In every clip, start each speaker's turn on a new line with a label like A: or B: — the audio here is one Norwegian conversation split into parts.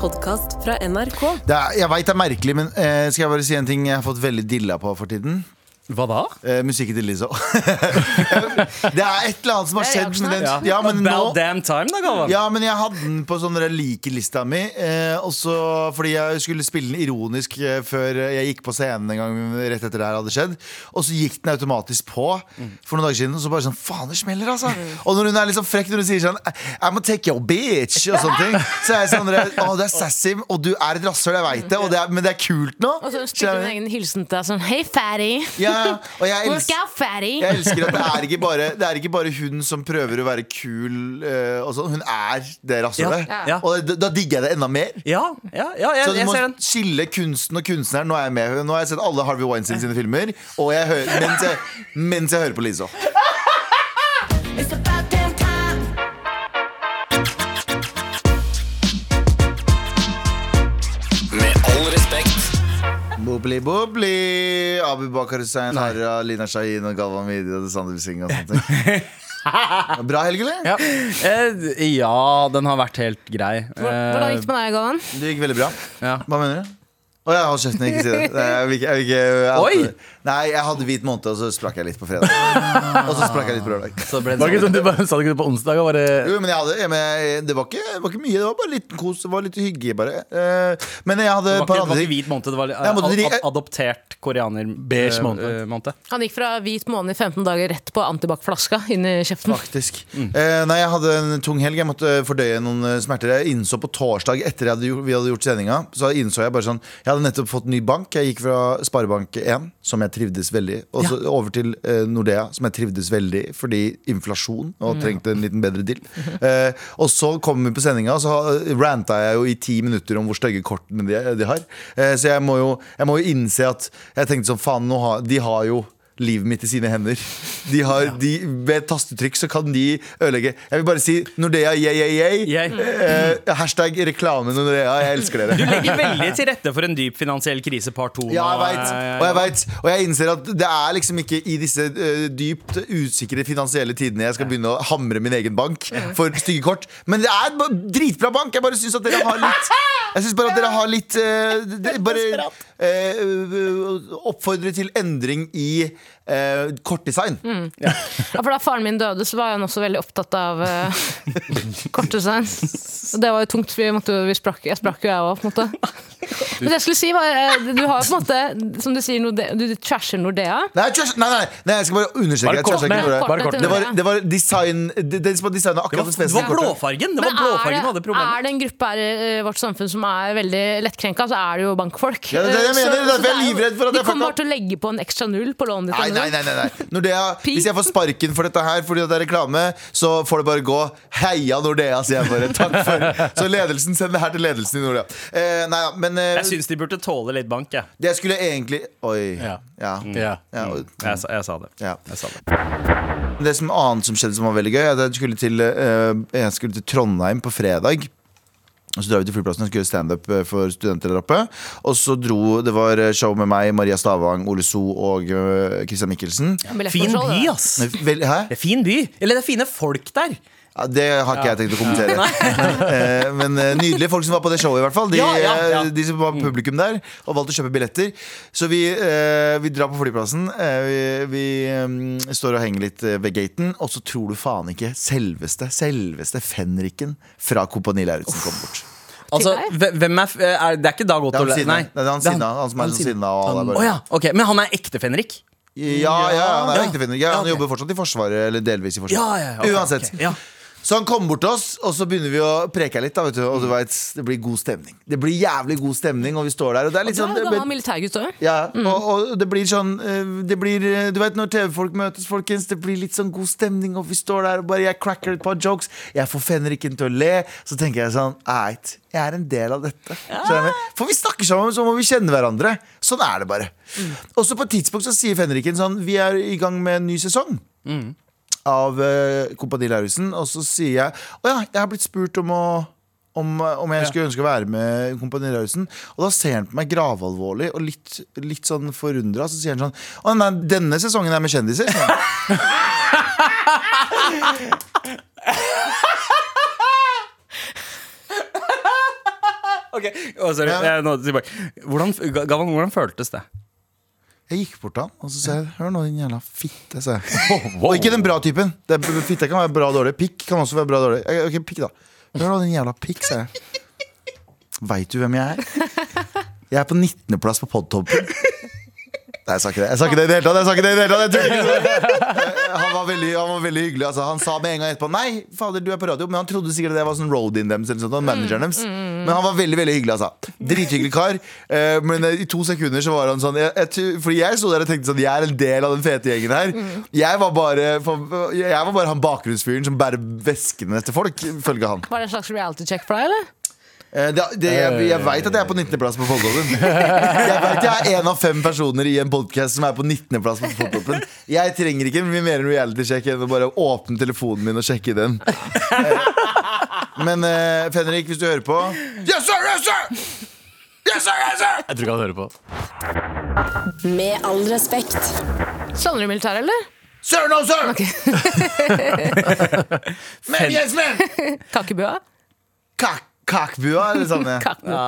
A: podkast fra NRK.
B: Det er, jeg veit det er merkelig, men eh, skal jeg bare si en ting jeg har fått veldig dilla på for tiden?
C: Hva da?
B: Eh, musikk i Dilliso. det er et eller annet som har
A: Det er
B: skjedd med den.
A: reaksjonært.
B: Ja, men nå,
C: About damn time, da, Galvan.
B: Ja, men jeg hadde den på sånn der like-lista mi. Eh, og så- fordi jeg skulle spille den ironisk eh, før jeg gikk på scenen en gang rett etter det her hadde skjedd. Og så gikk den automatisk på for noen dager siden. Og så bare sånn Faen, det smeller, altså!
D: Mm.
B: Og når hun er litt sånn frekk når hun sier sånn I'm take your bitch, og sånne ting, så er jeg sånn Å, det er sassy, og du er et rasshøl, jeg veit det, og det er, men det er kult nå.
D: Og så spilte hun en egen hilsen til deg sånn Hei, fatty!
B: ja, ja, og jeg
D: Look
B: elsker
D: out, fatty!
B: jeg elsker at det er, ikke bare, det er ikke bare hun som prøver å være kul. eh, og sånn. Hun er det rasshølet.
C: Ja, ja.
B: Og da, da digger jeg det enda mer.
C: Ja, ja, ja
B: Så
C: jeg,
B: du
C: jeg
B: må
C: ser den.
B: skille kunsten og kunstneren. Nå, er jeg med. Nå har jeg sett alle Harvey Weinstein sine filmer, og jeg hører, mens, jeg, mens jeg hører på Lizzo.
E: Med all respekt.
B: Bobli, bobli. Abu Bakar Hussein, Harra, Lina Shahin og Galvan Midi og Sander Singh og sånne ting. Bra helg, eller?
C: Ja. Eh, ja, den har vært helt grei. Eh,
D: Hvordan gikk det med deg, Galvan?
B: Det gikk veldig bra.
C: Ja.
B: Hva mener du? Å ja, hold kjeften, ikke si det. Nei, jeg, vil ikke- jeg, vil ikke- jeg,
C: Oi!
B: Nei, jeg hadde hvit måned, og så sprakk jeg litt på fredag. Og så sprakk jeg litt på lørdag.
C: Så ble det var ikke sånn du bare sa det ikke på onsdag? Og bare,
B: Jo, men jeg hadde, jeg, men jeg, det, var ikke, det var ikke mye, det var bare liten kos. Det var litt hygge, bare. Eh, men jeg hadde
C: det
B: et
C: var
B: par
C: ikke, det
B: andre
C: var
B: ting.
C: ikke hvit måned, det var
B: Nei, måtte
C: eh,
B: de-
C: ad, adoptert koreaner
F: Beige
C: eh,
F: måned.
C: eh, måned.
D: Han gikk fra hvit måned i 15 dager rett på antibac-flaska inn i kjeften.
B: Faktisk. Eh, nei, jeg hadde en tung helg. Jeg måtte eh, fordøye noen eh, smerter. Jeg innså på torsdag etter jeg hadde gjort, vi hadde gjort sendinga, så innså jeg bare sånn Jeg hadde nettopp fått ny bank. Jeg gikk fra Sparebank1, som jeg trivdes veldig i, og så over til eh, Nordea, som jeg trivdes veldig i fordi inflasjon og trengte en liten bedre deal. Eh, og så kom vi på sendinga, og så eh, ranta jeg jo i ti minutter om hvor stygge kortene de, de har. Eh, så jeg må, jo, jeg må jo innse at Jeg tenkte sånn, faen, nå har, de har jo livet mitt i sine hender. De har, de, ved et tastetrykk så kan de ødelegge. Jeg vil bare si Nordea, yeah, yeah, yeah.
C: Yay.
B: Eh, hashtag reklame Nordea. Jeg elsker dere.
C: Du legger veldig til rette for en dyp finansiell krise part to.
B: Ja, jeg
C: nå,
B: vet.
C: eh,
B: Og jeg vet. Og jeg innser at det er liksom ikke i disse eh, dypt usikre finansielle tidene jeg skal begynne å hamre min egen bank for stygge kort. Men det er ba- dritbra bank! Jeg bare syns at dere har litt Jeg synes bare at dere har litt eh, det- Bare eh, oppfordre til endring i eh, kortdesign.
D: Ja, for da faren min døde, så var han også veldig opptatt av uh, kortdesign. Og det var jo tungt, for vi, måtte, jo- vi sprakk, jeg sprakk jo jeg òg, på en måte. Men det jeg skulle si var eh, Du har jo på en måte, som du sier, Nordea, du trasher Nordea.
B: Nei, trash, nei, nei, nei, jeg skal bare understreke.
F: Bare
B: jeg trasher
F: kortene.
B: ikke Nordea.
C: Bare
D: Kortene til
B: Det var,
D: Nordea.
B: det var design de- Den som har designa
C: Det var,
B: akkurat det
C: det var
B: spesifikke kortet.
C: blåfargen Det var
D: Men
C: blåfargen som
D: er
C: hadde
D: det,
C: problemet.
D: er det en gruppe her i eh, vårt samfunn som er veldig lettkrenka, så er det jo bankfolk.
B: Ja, det er det jeg
D: Eh,
B: mener, det er derfor jeg er
D: jo-
B: livredd for at
D: De
B: jeg fucker
D: kommer
B: opp.
D: bare til å legge på en ekstra null på lånet ditt.
B: Nei, nei, nei,
D: eller noe.
B: nei, nei. Nordea,
D: Pi.
B: Hvis jeg får sparken for dette her fordi det er reklame, så får det bare gå. Heia Nordea, sier jeg bare. Takk for Så ledelsen, send det her til ledelsen i Nordea. Eh, nei da, men eh,
C: Jeg syns de burde tåle litt bank, jeg. Mm.
B: det jeg skulle egentlig Oi. Ja.
F: Ja.
B: ja.
F: Ja.
B: og-
C: Jeg, sa- jeg sa det.
B: ja.
C: Jeg sa det.
B: Det som annet som skjedde som var veldig gøy, er at jeg skulle til, eh, jeg skulle til Trondheim på fredag. Og så drar vi til flyplassen og skal gjøre standup eh, for studenter der oppe. Og så dro Det var eh, show med meg, Maria Stavang, Ole So og eh, Christian Mikkelsen.
C: Fin
D: Billettkontroll,
C: by,
D: det.
C: ass.
B: Men Vel, hæ?
C: Det er fin by. Eller det er fine folk der.
B: Ja, det har ikke jeg tenkt å kommentere. Eh, Men eh, nydelige folk som var på det showet, i hvert fall. De,
C: Ja, ja, ja. Mm.
B: eh, de som var publikum der, og valgte å kjøpe billetter. Så vi, eh, vi drar på flyplassen. eh, Vi, vi eh, står og henger litt eh, ved gaten, og så tror du faen ikke selveste, selveste fenriken fra Kompani Lauritzen kommer bort.
C: Altså, hve- hvem er, f- er Det er ikke Dag
B: Det
C: Otto
B: er han
C: Le-
B: Sina. Nei, det er han Sina, han som er sånn Sina og alle er
C: Å
B: bare-
C: ja, ok. Men han er ekte Fenrik?
B: Ja, ja, han er
C: Ja.
B: ekte fenrik. Ja,
C: Ja,
B: han
C: ok.
B: jobber fortsatt i Forsvaret, eller delvis i Forsvaret.
C: Ja, ja, ja, ok,
B: Uansett.
C: ok, ja.
B: Så han kommer bort til oss, og så begynner vi å preke litt. Da, vet du, og du vet, det blir god stemning. Det blir jævlig god stemning, og vi står der. Og det er litt
D: Du
B: sånn
D: er jo gammel militærgutt òg.
B: ja, og, og det blir sånn eh, Det blir, eh, Du vet når TV-folk møtes, folkens, det blir litt sånn god stemning, og vi står der og bare jeg cracker et par jokes. Jeg får fenriken til å le. Så tenker jeg sånn Eit, jeg er en del av dette. Skjønner du? For vi snakker sammen som om vi kjenner hverandre. Sånn er det bare. Og så på et tidspunkt så sier fenriken sånn Vi er i gang med en ny sesong av eh, Kompani Lauritzen, og så sier jeg Å ja, jeg har blitt spurt om å om, om jeg skulle ønske å være med i Kompani Lauritzen. Og da ser han på meg gravalvorlig og litt, litt sånn forundra. Så sier han sånn Å nei, denne sesongen er med kjendiser. sier han.
C: Ok, Å, sorry.
B: Ja.
C: Eh, nå tilbake. Hvordan, Ga- Galvan, hvordan føltes det?
B: Jeg gikk bort til han, og så sa jeg Hør nå, din jævla fitte, sa jeg. Og ikke den bra typen. Det er, fitte kan være bra og dårlig. Pikk kan også være bra og dårlig. Eh, Ok, pikk, da. Hør nå, din jævla pikk, sa jeg. Veit du hvem jeg er? Jeg er på 19.-plass på Podtoppen. Nei, jeg sa ikke det. Jeg sa ikke det i det hele tatt. Jeg sa ikke det i det hele tatt. Jeg tuller. Eh, Han var veldig, han var veldig hyggelig. Altså, han sa med en gang etterpå Nei, fader, du er på radio. Men han trodde sikkert det var sånn road-in deres. Eller sånt, og manageren deres. Men han var veldig veldig hyggelig. altså Drithyggelig kar. Eh, Men eh, i to sekunder så var han sånn jeg, jeg, tu- Fordi jeg sto der og tenkte sånn Jeg er en del av den fete gjengen her. Jeg var bare, for- jeg var bare han bakgrunnsfyren som bærer veskene til folk, ifølge han.
D: Var det en slags reality check for deg, eller?
B: Eh, Det, det, jeg jeg veit at jeg er på 19.-plass på Folktoppen. Jeg vet jeg er én av fem personer i en podkast som er på 19.-plass på Folktoppen. Jeg trenger ikke mye mer enn reality-sjekk enn å bare åpne telefonen min og sjekke den. Eh, Men eh, Fenrik, hvis du hører på Yes, sir! Yes, sir! Yes, sir! Yes, sir!
A: Jeg tror ikke han hører på.
F: Med all respekt.
D: Savner du militæret, eller?
B: Sir, no, sir! Men, yes, men!
D: Kakebua?
B: Kak kakbua, eller sånn. ja. Ah.
D: Kakebua.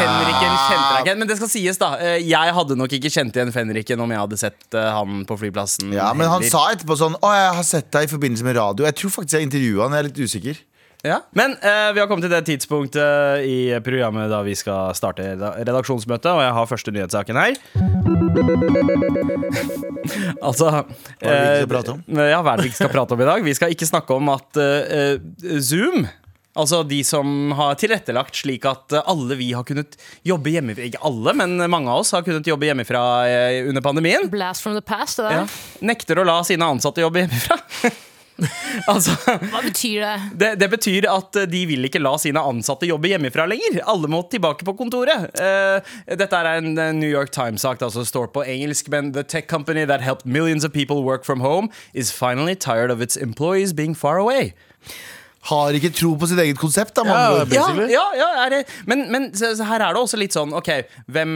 C: Fenriken kjente deg ikke igjen, men det skal sies, da. Eh, Jeg hadde nok ikke kjent igjen Fenriken om jeg hadde sett eh, han på flyplassen.
B: Ja, men han
C: heller.
B: sa etterpå sånn Å, jeg har sett deg i forbindelse med radio. Jeg tror faktisk jeg intervjua han. Jeg er litt usikker.
C: Ja. Men eh, vi har kommet til det tidspunktet i programmet da vi skal starte reda- redaksjonsmøtet, og jeg har første nyhetssaken her. altså Hva
B: er det vi ikke skal prate om?
C: Ja, hva er det vi ikke skal prate om i dag? Vi skal ikke snakke om at eh, eh, Zoom Altså de som har tilrettelagt slik at eh, alle vi har kunnet jobbe hjemmefra Ikke alle, men mange av oss har kunnet jobbe hjemmefra eh, under pandemien
D: Blast from the past, det der.
C: ja. Nekter å la sine ansatte jobbe hjemmefra Altså
D: Hva betyr det?
C: det, det betyr at eh, de vil ikke la sine ansatte jobbe hjemmefra lenger. Alle må tilbake på kontoret. Eh, dette er en eh, New York Times-sak altså står på engelsk, men the tech company that helped millions of people work from home is finally tired of its employees being far away.
B: har ikke tro på sitt eget konsept. da,
A: Ja,
B: ja,
C: Ja,
A: Basically.
C: ja, ja er det, men, men så, så her er det også litt sånn Ok, hvem,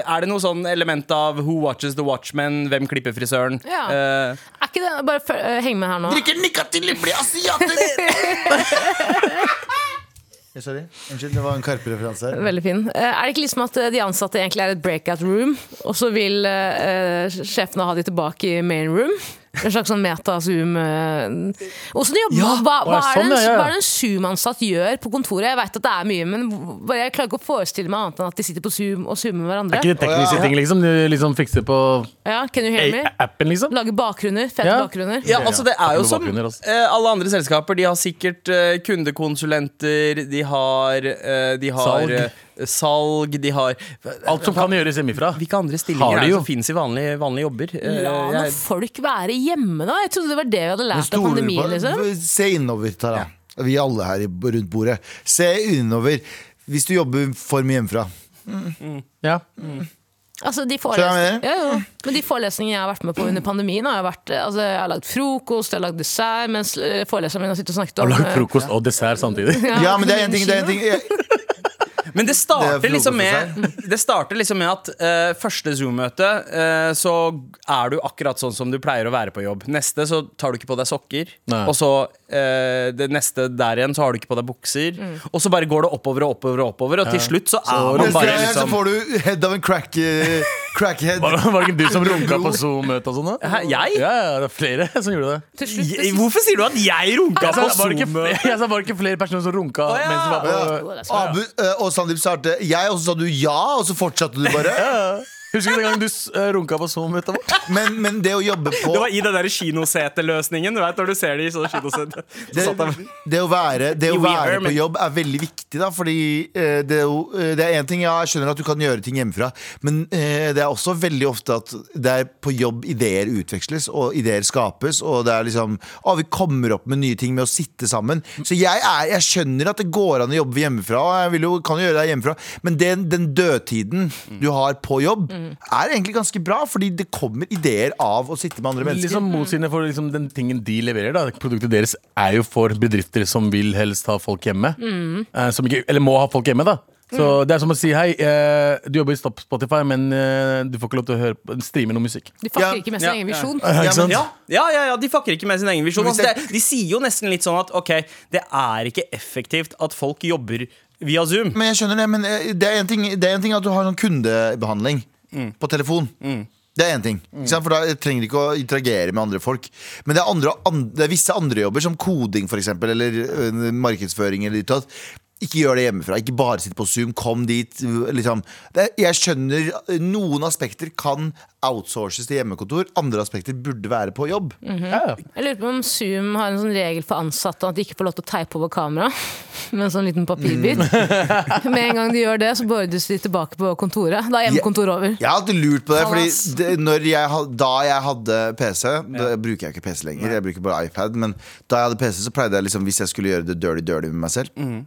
C: er det noe sånn element av Who watches the watchman? Hvem klipper frisøren?
D: Ja.
C: Eh,
D: Er ikke det Bare føl- eh, heng med her nå.
B: Drikker nikotin, blir asiater! Sorry. Unnskyld, det var en Karpe-referanse. her.
D: Veldig fin. Eh, Er det ikke liksom at eh, de ansatte egentlig er et breakout room, og så vil eh, eh, sjefene ha de tilbake i main room? En slags sånn meta-zoom eh, Hvordan de jobber
A: Ja,
D: hva, hva,
A: å,
D: er det
A: sånn,
D: en,
A: ja, ja, ja.
D: hva er det en Zoom-ansatt gjør på kontoret? Jeg vet at det er mye, men hvor- jeg klarer ikke å forestille meg annet enn at de sitter på Zoom og zoomer med
A: Er
D: hverandre.
A: ikke det tekniske ting, liksom? Du liksom fikser på
D: Ja, can you hear me?
A: appen, liksom?
D: Lage bakgrunner. Fete
A: Ja.
D: bakgrunner.
C: Ja, altså det er jo
A: Noe
C: som
A: bakgrunner, altså.
C: eh, alle andre selskaper. De har sikkert eh, kundekonsulenter, de har, eh, de har
A: Salg.
C: eh, salg, de har
A: Alt som kan gjøres hjemmefra.
C: Hvilke andre
A: Har
C: stillinger
A: de
C: er det
A: jo.
C: som finnes i vanlige, vanlige jobber? Eh,
D: La nå
C: jeg,
D: folk være hjemme, da! Jeg trodde det var det vi hadde
B: Men
D: lært av
B: stoler du
D: pandemien. liksom
B: på- Se innover, Tara. Vi alle her i- rundt bordet. Se innover hvis du jobber for mye hjemmefra.
A: Ja.
D: Altså, de
B: Skjønner du hva jeg
D: forelesningene, ja, ja. Men de forelesningene jeg har vært med på under pandemien, har jeg, vært, altså, jeg har lagd frokost, jeg har lagd dessert, mens eh, foreleseren min har sittet og snakket
A: Og
D: om
A: lagd
D: eh,
A: frokost og dessert samtidig.
B: Ja, men det er en ting, det er en ting.
C: men det
B: Det
C: starter
B: er
C: liksom
B: frokost
C: med Det starter liksom med at eh, første Zoom-møte, eh, så er du akkurat sånn som du pleier å være på jobb. Neste så tar du ikke på deg sokker.
A: Nei.
C: Og så eh, det neste der igjen så har du ikke på deg bukser. Og så bare går det oppover og oppover og oppover, og til slutt så er man
B: Neste
C: bare
B: gang så
C: liksom
B: får du head av en crack, eh, crackhead.
A: Var det, var det ikke du som runka på Zoom-møtet og sånn? da?
C: Hæ, jeg?
A: Ja, ja, det er flere som gjorde det.
D: Til slutt, det
C: Jeg-
D: siste-
C: Hvorfor sier du at jeg runka
A: Jeg sa,
C: på
A: var det ikke
C: Zoom?
A: flere, jeg sa, var det ikke flere personer som runka
C: Å, ja.
A: mens de var på
B: Ja. Abu eh, og Sandeep svarte jeg, og så sa du ja, og så fortsatte du bare.
A: Husker du den gangen du s- eh, runka på Zoom-møtet vårt?
B: Men, men det å jobbe på
C: Det var i den der kinoseteløsningen. Du vet når du ser det i sånne kinosete. Så
B: det,
C: satt jeg-
B: det å være, det å
C: Jo, vi
B: være
C: er
B: på
C: med.
B: jobb er veldig viktig, da. Fordi eh, det er jo- eh, det er én ting, ja, jeg skjønner at du kan gjøre ting hjemmefra, men eh, det er også veldig ofte at det er på jobb ideer utveksles, og ideer skapes, og det er liksom Å, vi kommer opp med nye ting med å sitte sammen. Så jeg, er, jeg skjønner at det går an å jobbe hjemmefra, og jeg vil jo, kan jo gjøre det hjemmefra, men den, den dødtiden du har på jobb, er egentlig ganske bra, fordi det kommer ideer av å sitte med andre mennesker.
A: Liksom motsigende for liksom den tingen de leverer. da Produktet deres
D: Mm.
A: er jo for bedrifter som vil helst ha folk hjemme. Eh, som ikke, eller må ha folk hjemme, da. Så det er som å si hei, eh, du jobber i Stop- Spotify, men eh, du får ikke lov til å høre på, streame noe musikk.
D: De fucker
B: Ja,
D: ikke med
C: ja,
D: sin egen
C: ja.
D: visjon.
B: Ja,
A: ikke
B: men-
A: sant?
C: Ja, ja, ja, ja, de fucker ikke med sin egen visjon.
B: Hvis
C: Altså,
B: jeg-
C: det, de sier jo nesten litt sånn at ok, det er ikke effektivt at folk jobber via Zoom.
B: Men jeg skjønner det, men eh, det er en ting, det er en ting at du har sånn kundebehandling på telefon. Det er én ting. Ikke sant? For da trenger du ikke å interagere med andre folk. Men det er, andre, an- det er visse andre jobber, som koding for eksempel, eller ø, markedsføring. eller ditt og datt. Ikke gjør det hjemmefra. Ikke bare sitt på Zoom. Kom dit. ø, Liksom. Det, er- jeg skjønner ø, Noen aspekter kan outsources til hjemmekontor. Andre aspekter burde være på jobb.
D: Mm. Jeg lurer på om Zoom har en sånn regel for ansatte om at de ikke får lov til å teipe over kamera med en sånn liten papirbit.
B: Mm.
D: Med en gang de gjør det, så bordes de tilbake på kontoret. Da er hjemmekontor over.
B: Jeg har alltid lurt på det,
D: Falas.
B: fordi det, når jeg, ha- da jeg hadde PC Da bruker jeg ikke PC lenger, jeg bruker bare iPad Men da jeg hadde PC så pleide jeg liksom Hvis jeg skulle gjøre det dirty dirty med meg selv
C: Mm.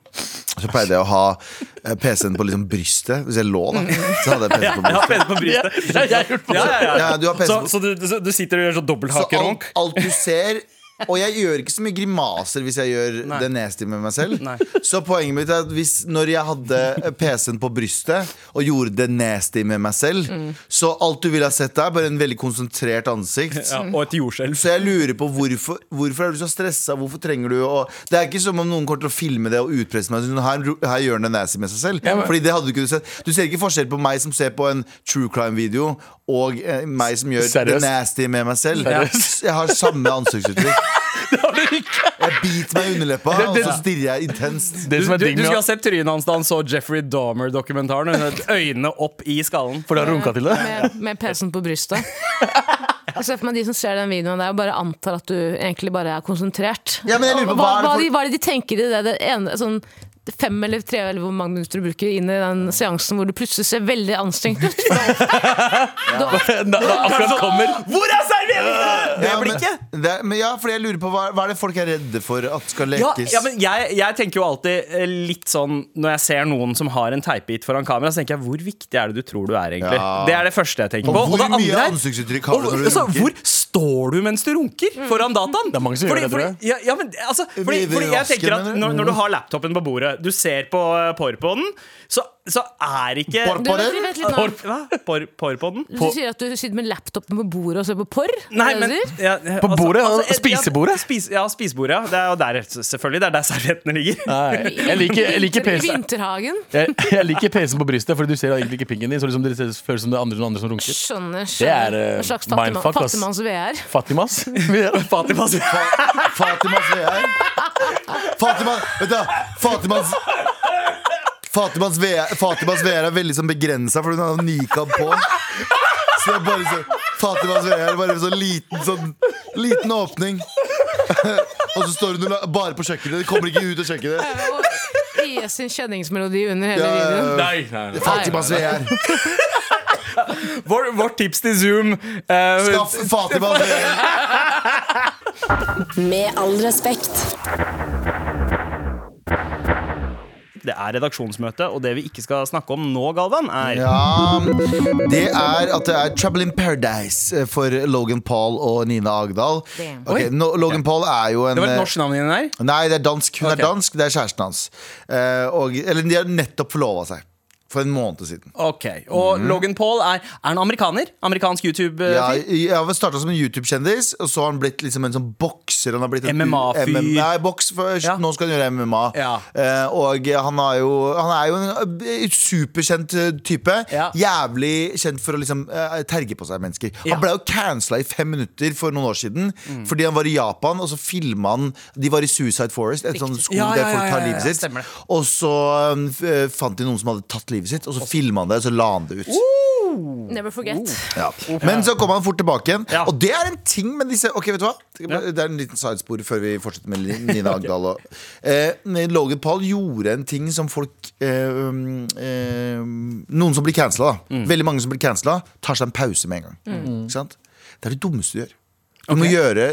B: Så pleide jeg å ha eh, PC-en på liksom brystet Hvis jeg lå da,
C: Mm.
B: så hadde jeg PC på
C: Jeg
B: brystet
C: har pene på brystet. Ja, ja, ja.
B: Ja, du har pene
C: så,
B: på-
C: så, du, så du sitter og gjør sånn
B: Så
C: dobbelthakerunk?
B: alt, alt du ser og jeg gjør ikke så mye grimaser hvis jeg gjør
C: Nei.
B: det nasty med meg selv.
C: Nei.
B: Så poenget mitt er at hvis, når jeg hadde PC-en på brystet og gjorde det nasty med meg selv,
C: Mm.
B: så alt du ville ha sett der, bare en veldig konsentrert ansikt.
C: Ja, og et jordskjelv.
B: Så jeg lurer på hvorfor, hvorfor er du så stressa? Hvorfor trenger du å Det er ikke som om noen kommer til å filme det og utpresse meg. Sånn, Her, her gjør han det nasty med seg selv. Fordi det hadde Du ikke sett Du ser ikke forskjell på meg som ser på en true crime-video, og eh, meg som gjør det
A: Seriøst?
B: nasty med meg selv.
A: Seriøst?
B: Jeg har samme ansiktsuttrykk. Jeg biter meg i underleppa, og
A: det-
B: så stirrer jeg intenst.
A: Det
C: Du,
A: som er
C: du,
A: digg
C: du
A: med
C: skal ha
A: at-
C: sett trynet hans da han så Jeffrey Dahmer-dokumentaren. med Øynene opp i skallen.
A: For du har runka til det?
D: Med, med PC-en på brystet. Jeg ser for meg de som ser den videoen der og bare antar at du egentlig bare er konsentrert.
B: Ja, men jeg lurer på,
D: Og
B: hva er det
D: hva,
B: for-
D: de, hva er det de tenker i det, det ene sånn Fem eller tre eller hvor mange minutter du bruker inn i den seansen hvor du plutselig ser veldig anstrengt ut.
A: Da, da akkurat kommer
C: Hvor er serveringen?! Det
B: Ja, men,
C: blikket!
B: det, er- men ja, fordi jeg lurer på hva, hva er det folk er redde for at skal
C: Ja,
B: lekes?
C: ja, men jeg, jeg tenker jo alltid eh, litt sånn Når jeg ser noen som har en teipbit foran kamera, så tenker jeg hvor viktig er det du tror du er, egentlig?
B: Ja.
C: Det er det første jeg tenker
B: Og
C: på.
B: hvor
C: det andre
B: mye
C: er-
B: ansiktsuttrykk har du
C: og-
B: når du
C: altså,
B: runker?
C: Hvor står du mens du runker? Foran dataen? Det
A: er mange som gjør Mm. det, tror jeg.
C: Ja, ja, men, altså, fordi,
B: River i
C: fordi jeg
B: vasken,
C: tenker at
B: mener du?
C: når, når du har laptopen på bordet, du ser på eh, porrpoden, så, så er ikke
B: Por-
D: Du,
B: Porren?
D: vent, litt, vent litt nå.
C: Por- Hva? Por- Porrpoden?
D: Du sier at du sitter med laptopen på bordet og ser på porr?
C: Nei,
D: Er det
C: men
D: det du sier?
C: ja,
A: På bordet?
C: eh,
A: Spisebordet?
C: Ja, spis, ja spisebordet. ja. Det er jo der, selvfølgelig. Det er der serviettene ligger.
A: Nei, jeg liker, jeg liker
D: Vinter-
A: PC.
D: Vinterhagen.
A: Jeg, jeg liker PC-en på brystet, Fordi du ser egentlig ikke pingen din. Så liksom det ser- føles som det er andre, noen andre som runker.
D: Skjønner. skjønner.
A: Det er, eh,
D: en slags
A: mindfuck, ass.
D: fattigmanns-VR.
A: Fatimas.
C: Fatima sier
B: Fa- Fatima Svear. Fatima, vet du, Fatimas Fatimas VR, Fatimas VR er veldig sånn begrensa, for hun har nikab på. Så det er bare så, Fatimas VR er bare en sånn liten, sånn, liten åpning. Og så står hun la- bare på kjøkkenet. Det kommer ikke ut av kjøkkenet.
D: Og IS sin kjenningsmelodi under hele
B: Ja, ja,
D: videoen.
B: ja.
C: Nei, nei, nei.
B: Fatimas VR.
C: Vår, vårt tips til Zoom eh,
B: Skaff Fatimas VR.
F: Med all respekt.
C: Det er redaksjonsmøte, og det vi ikke skal snakke om nå, Galvan, er
B: Ja, det er at det er Trouble in Paradise eh, for Logan Paul og Nina Agdal.
D: Damn.
B: Ok, nå- Logan Paul er jo en
C: Det var et
B: eh,
C: norsk navn i den her.
B: Nei, det er dansk. Hun
C: Ok.
B: er dansk, det er kjæresten hans. Eh, og, eller de har nettopp forlova seg. For en måned siden.
C: Ok, Og Logan Paul er, er han amerikaner? Amerikansk
B: Mhm.
C: YouTube-fyr?
B: Ja, jeg har starta som en YouTube-kjendis, og så har han blitt liksom en sånn bokser. Han har blitt en
C: MMA-fyr.
B: MM Nei, boks først.
C: Ja.
B: Nå skal han gjøre MMA.
C: Ja.
B: Eh, og han, har jo, han er jo en eh, superkjent eh, type.
C: Ja.
B: Jævlig kjent for å liksom eh, terge på seg mennesker.
C: Ja. Mm.
B: Han ble jo cancela i fem minutter for noen år siden fordi han var i Japan, og så filma han De var i Suicide Forest, et sånt skog
C: Ja, ja,
B: der folk
C: ja,
B: tar
C: ja, ja,
B: livet sitt.
C: stemmer det.
B: Og så um, f- eh, fant de noen som hadde tatt livet sitt, og så filma han det, og så la han det ut.
D: Never forget.
A: Oh.
B: Ja. Men så kom han fort tilbake igjen.
C: Ja.
B: Og det er en ting med disse Ok, vet du hva? Det er en liten sidespor før vi fortsetter med Nina Agdal. Og, eh, Logan Paul gjorde en ting som folk eh, um, eh, Noen som blir cancela, da. Veldig mange som blir cancela, tar seg en pause med en gang. Ikke sant? Det er det dummeste du gjør. Du må gjøre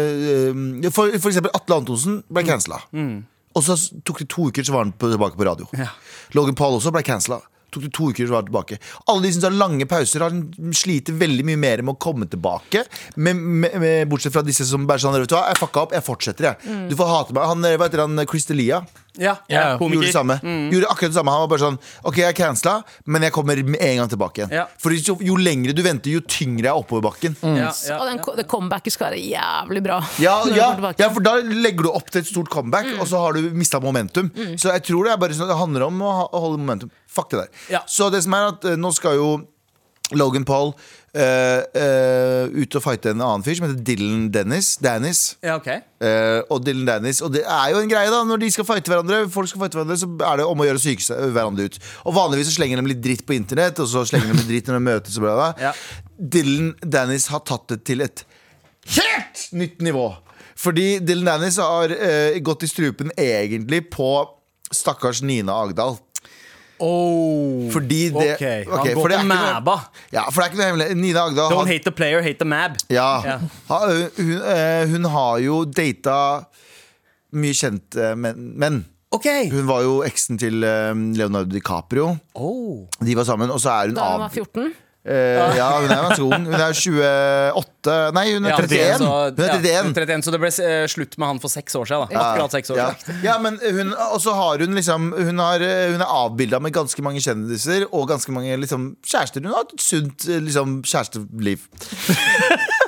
B: eh, eh, for, for eksempel Atle Antonsen ble
C: Mm.
B: cancela. Og så tok det to uker, så var han på, tilbake på radio. Logan Paul også ble cancela. Tok det to uker, så var han tilbake. Alle de som tar lange pauser, han sliter veldig mye mer med å komme tilbake. Men, med,
C: Mm.
B: med, bortsett fra disse som bare sånn Vet du hva, jeg fucka opp, jeg fortsetter, jeg. Du får hate meg. Han, eh, hva heter han, Chris Delia?
C: Ja, ja,
A: Ja,
B: Gjorde,
C: komiker. Mm.
B: det samme. Gjorde akkurat det samme. Han var bare sånn OK, jeg cancela, men jeg kommer med en gang tilbake igjen.
C: Ja.
B: Fordi jo, jo lengre du venter, jo tyngre er oppoverbakken.
C: Ja, ja.
D: Og den, ko- det comebacket skal være jævlig bra.
B: Ja,
D: Når du
B: ja,
D: går tilbake.
B: ja, for da legger du opp til et stort comeback, og så har du mista momentum. Så jeg tror det, er bare sånn, det handler om å ha- å holde momentum. Fuck det der.
C: Ja.
B: Så det som er at eh, nå skal jo Logan Paul eh, eh, ut og fighte en annen fyr som heter Dylan Dennis. Dennis.
C: ja, ok.
B: Eh, og Dylan Dennis. Og det er jo en greie, da. Når de skal fighte hverandre, folk skal fighte hverandre så er det om å gjøre å psyke seg- øh, hverandre ut. Og vanligvis så slenger de litt dritt på internett, og så slenger de litt dritt når de møtes. Og bla, bla.
C: Ja.
B: Dylan Dennis har tatt det til et helt nytt nivå. Fordi Dylan Dennis har eh, gått i strupen egentlig på stakkars Nina Agdal.
C: Oh,
B: Fordi det
C: ok. Han
B: ok,
C: går
B: for det er
C: på
B: ikke noe-
C: mæba.
B: Ja, for det er ikke noe hemmelig. Nina Agdal
C: Don't
B: har
C: hate the player, hate the mab.
B: Ja.
C: Ja.
B: Ha, ø, hun, ø, hun har jo data mye kjente menn. menn.
C: Ok.
B: Hun var jo eksen til ø, Leonardo DiCaprio.
C: Oh.
B: De var sammen, og så er hun
D: Da han
B: av...
D: var 14.
B: Eh, ja, hun er ganske ung. Hun er 28 Nei, hun er
C: Ja,
B: 31.
C: så-
B: Hun er
C: Ja,
B: 31.
C: hun er 31, så det ble eh, slutt med han for seks år siden. Da. Akkurat seks år
B: Ja.
C: siden.
B: ja, men hun Og så har hun liksom Hun, har, eh, hun er avbilda med ganske mange kjendiser og ganske mange liksom, kjærester. Hun har hatt et sunt eh, liksom, kjæresteliv.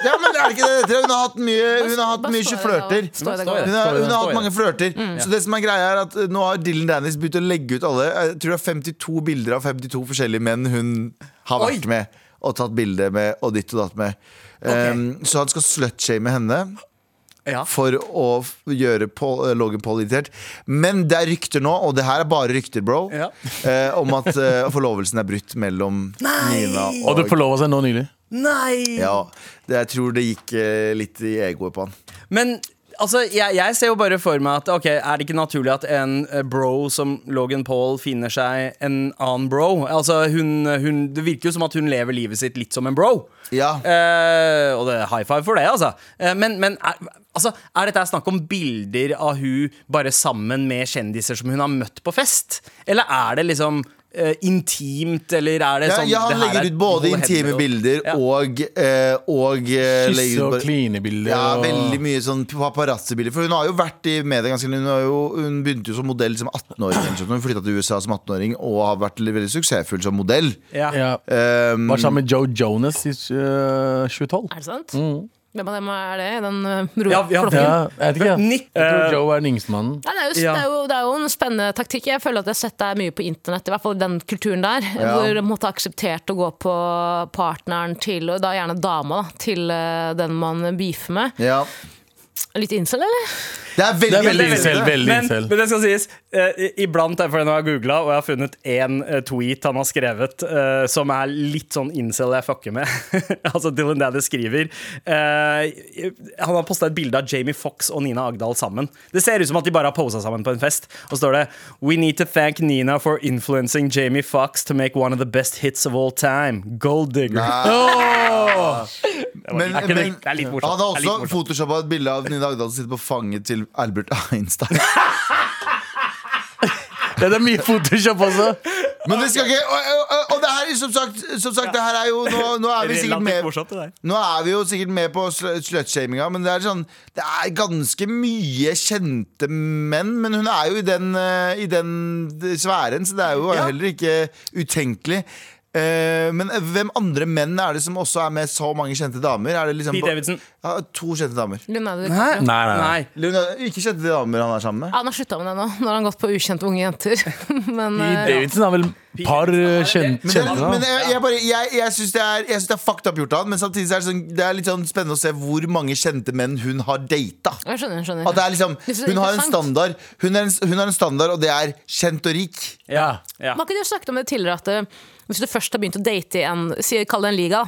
B: ja, men er det ikke det? dere- Hun har hatt mye Hun har hatt
D: Bare
B: mye
D: stå i det,
B: flørter.
D: stå i det,
C: Stå i det.
B: Hun har, hun
C: Står
B: har
C: i står i
B: hatt mange flørter. Så det som er greia er at eh, Nå har Dylan Dennis begynt å legge ut alle Jeg tror det er 52 bilder av 52 forskjellige menn hun har vært
C: Oi.
B: med og tatt bilde med og ditt og datt med. Ehm, så han skal slutshame henne
C: Ja.
B: for å f- gjøre Paul, eh, Logan Paul irritert. Men det er rykter nå, og det her er bare rykter, bro,
C: Ja.
B: eh, om at eh, forlovelsen er brutt mellom Nina og,
A: Og du forlova seg nå nylig.
C: Nei!
B: ja, det, Jeg tror det gikk eh, litt i egoet på han.
C: Men altså, jeg, jeg ser jo bare for meg at Ok, er det ikke naturlig at en eh, bro som Logan Paul finner seg en annen bro? Altså, hun, hun, Det virker jo som at hun lever livet sitt litt som en bro.
B: Ja.
C: Eh, og det er high five for det, altså. Eh, men men er, altså, er dette her snakk om bilder av hun bare sammen med kjendiser som hun har møtt på fest? Eller er det liksom eh, intimt, eller er det
B: Ja,
C: sånn
B: ja,
C: det
B: han
C: her
B: legger
C: er
B: ut både
C: gode
B: intime
C: hender og-
B: bilder
C: Ja.
B: og, eh, og eh, legger
A: Kysse
B: ut
A: og
B: bare-
A: klinebilder.
B: Ja,
A: og-
B: veldig mye sånn paparazzi-bilder. For hun har jo vært i media ganske lenge. Hun, har jo, hun begynte jo som modell som 18-åring. eller sånt. Hun flytta til USA som 18-åring og har vært veldig, veldig suksessfull som modell.
C: Ja.
A: Ja.
B: Um,
A: Var sammen med Joe Jonas i eh, 2012.
D: Er det sant? Hvem av dem er det? Den uh,
C: Mm.
D: ro
C: Ja, ja,
D: flokken?
A: Ja, jeg vet ikke. jeg.
C: Nick-
A: Jeg tror Joe er den yngste mannen.
D: Nei, det, er jo,
C: Ja.
D: det, er jo, det er jo en spennende taktikk. Jeg føler at jeg har sett deg mye på internett, i hvert fall i den kulturen der, hvor de måtte ha akseptert å gå på partneren til, og da gjerne dama, da, til eh, den man beefer med.
B: ja.
D: Litt incel, eller?
B: Det er veldig,
A: Det er veldig incel, veldig
C: men,
A: incel.
C: men det skal sies, eh, i- iblant er fordi jeg har googla, og jeg har funnet én eh, tweet han har skrevet eh, som er litt sånn incel jeg fucker med. altså Dylan Daddy skriver eh, Han har posta et bilde av Jamie Fox og Nina Agdal sammen. Det ser ut som at de bare har posa sammen på en fest. Og så står det We need to thank Nina for influencing Jamie Fox to make one of the best hits of all time. Gold digger. Det var-
B: Men,
C: er ikke det-
B: men
C: det er litt morsomt.
B: han har
C: Det er
B: også
C: litt morsomt.
B: photoshoppa et bilde av Nina Agdal som sitter på fanget til Albert Einstein.
A: Det er mye Photoshop også.
B: Men det skal ikke Og, og, og det her, er som sagt, som sagt det her er jo Nå, nå er vi sikkert
C: Relativt
B: med
C: morsomt, det der.
B: Nå er vi jo sikkert med på sl- slutshaminga, men det er, sånn, det er ganske mye kjente menn. Men hun er jo i den, eh, i den sfæren, så det er jo heller ikke utenkelig. Eh, men hvem andre menn er det som også er med så mange kjente damer? Er det liksom
C: Pete Davidson.
B: Ja, to kjente damer.
D: Leonardo
C: Hæ?
D: DiCaprio.
C: Nei.
B: Leonardo, ikke kjente damer han er sammen med.
D: Han har slutta med det nå, når han har gått på ukjente unge jenter. Men
A: Pete
D: eh,
A: Davidson har vel par eh, kjen-
B: Men, det,
A: kjente
B: men
A: da.
B: jeg, jeg, bare- jeg, jeg syns det, er- jeg syns det er fucked up gjort av han, men samtidig så er det, sånn, det er litt sånn spennende å se hvor mange kjente menn hun har data.
D: jeg skjønner, jeg skjønner.
B: At det er liksom,
D: Det er så
B: hun har en
D: interessant.
B: standard, hun er en, hun har en standard og det er kjent og rik.
A: Ja.
C: Ja.
D: Man kunne jo snakket om det tidligere at eh, hvis du først har begynt å date i en, si- kall det en liga,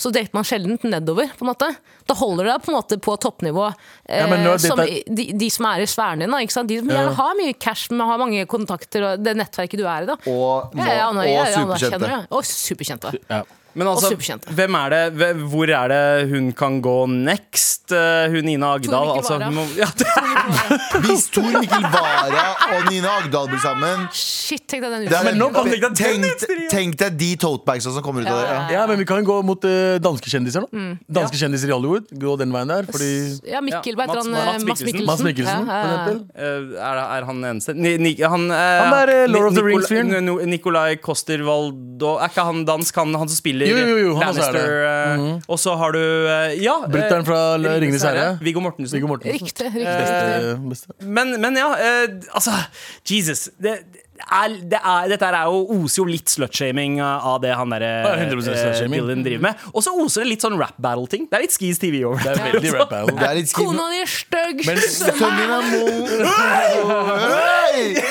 D: så dater man sjelden nedover. på en måte. Da holder du deg på en måte på toppnivå. Eh,
A: Ja, men nå er
D: som,
A: dette-
D: i- de, de som er i sfæren din, da, ikke sant? de som gjerne har mye cash, men har mange kontakter og det nettverket du er i. da.
B: Og,
D: Ja, ja,
B: og
D: ja, ja, ja, ja,
B: superkjente.
D: kjenner jeg. Og superkjente.
A: Ja.
C: Men altså,
D: Og superkjente.
C: hvem er det, hve- hvor er det hun kan gå next? Eh, Hun Ina Agdal.
D: Tone
C: Altså,
D: Mikkel
C: hun må,
D: Wara.
C: ja, det,
B: Hvis Tor Mikkel Wara og Nina Agdal blir sammen
D: Shit, tenk deg den
B: det er-
D: utstillingen.
C: nå kan- tenk deg den
B: tenk, tenk deg de totebagsa som kommer ut av det. Ja.
A: Ja, men vi kan gå mot eh, danske kjendiser, da. Danske kjendiser i Hollywood. Gå den veien der. Fordi
D: Ja, Mikkel,
C: Ja,
D: hva heter
C: Mats-
D: han?
C: Mats
D: eh, Mats
C: Mikkelsen.
D: Mikkelsen.
A: Mads Mikkelsen,
D: Ja, ja,
A: for
D: ja.
A: eksempel.
C: Eh, er, er han den eneste? Ni, ni, han, eh,
A: Han er, eh, Lord of the
C: Nicola-
A: Rings-fyren.
C: N- N- Nicolai Coster-Waldo Er ikke han dansk, han, han som spiller
A: Jo, jo, jo, han også er det.
C: Lannister? eh, Og så har du eh, Ja! eh,
A: Brytteren fra L- Ringenes herre.
C: Viggo Mortensen.
A: Viggo Mortensen.
D: Riktig. riktig, riktig.
A: Beste, beste.
C: Men, men ja, eh, altså Jesus. Det, det er, det er, dette her er jo, oser jo litt slutshaming eh, av det han derre
A: Ja, 100% slutshaming.
C: Dylan driver med. Og så oser det litt sånn rap battle-ting. Det er litt Skis TV over det.
A: Det er veldig rap battle.
B: Det er litt
D: Kona di er stygg!
B: Sønnen din er mo- Hei!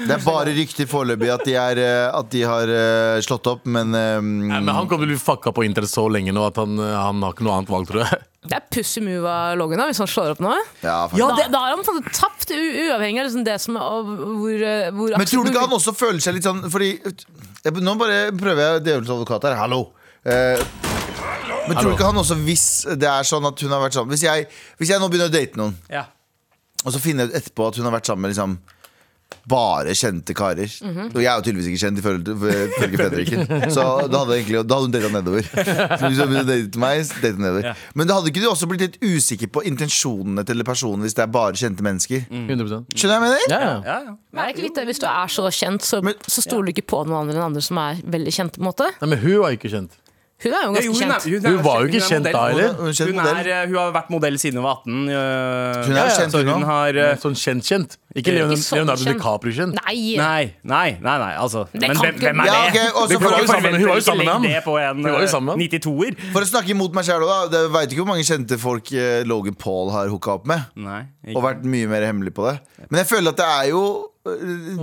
B: Det er bare rykter foreløpig at, de er, eh, at de har eh, slått opp, men eh,
A: Nei, men han kommer til å bli fucka på internett så lenge nå at han, eh, han har ikke noe annet valg, tror jeg.
D: Det er pussy move av Logan da, hvis han slår opp nå.
B: ja, faktisk.
D: Da, da har han på en måte tapt, u uavhengig av liksom det som av hvor, eh, hvor
B: Men tror du ikke
D: absolutt-
B: han også føler seg litt sånn Fordi jeg, Nå bare prøver jeg djevelens advokat her. Hallo! Eh, men tror du ikke han også, hvis det er sånn at hun har vært sammen Hvis jeg, hvis jeg nå begynner å date noen,
C: Ja.
B: og så finner jeg ut etterpå at hun har vært sammen med liksom bare kjente karer.
C: Mhm.
B: Og jeg er jo tydeligvis ikke kjent ifølge ifølge Fredriken. Så da hadde, jeg egentlig, da hadde hun data nedover. Så hvis hun begynte å date meg, så datet hun nedover.
C: Ja.
B: Men da hadde ikke du også blitt litt usikker på intensjonene til personen hvis det er bare kjente mennesker? Skjønner
A: 100%
B: du hva jeg mener?
A: ja, Mm. ja.
C: Mm. Ja, ja.
D: Men er det ikke litt det, Hvis du er så kjent, så,
B: Men-
D: så stoler du ikke på noen andre enn andre som er veldig kjent. på en måte
A: Nei, men hun var ikke kjent.
D: Hun er jo
C: Ja,
D: ganske
C: jo, hun, er,
D: kjent.
C: hun, er,
A: Hun var jo ikke kjent
C: modell.
A: da heller.
B: Hun er kjent
C: Hun,
B: modell.
C: er, eh, hun har vært modell siden hun var 18. eh,
B: Hun er kjent,
C: så
B: hun
C: hun
B: også.
C: har eh,
A: Sånn kjent-kjent. Ikke
C: Ikke
A: Leonardo
D: sånn
A: Leonardo
D: kjent.
A: DiCaprio-kjent.
D: Nei!
C: Nei, nei, nei, nei altså.
D: Det
C: Men
D: kan
C: hvem,
D: ikke-
C: hvem er
B: Ja,
C: det?
B: ok, og så
C: Du kan
B: for-
C: ikke
A: Hun var jo sammen- hun var jo
C: forvente
A: sammen med ham.
C: det på en
A: Hun var jo sammen med ham.
C: eh, 92-er.
B: For å snakke imot meg sjæl, da. Jeg veit ikke hvor mange kjente folk eh, Logan Paul har hooka opp med.
C: Nei, ikke.
B: Og vært mye mer hemmelig på det. Men jeg føler at det er jo eh,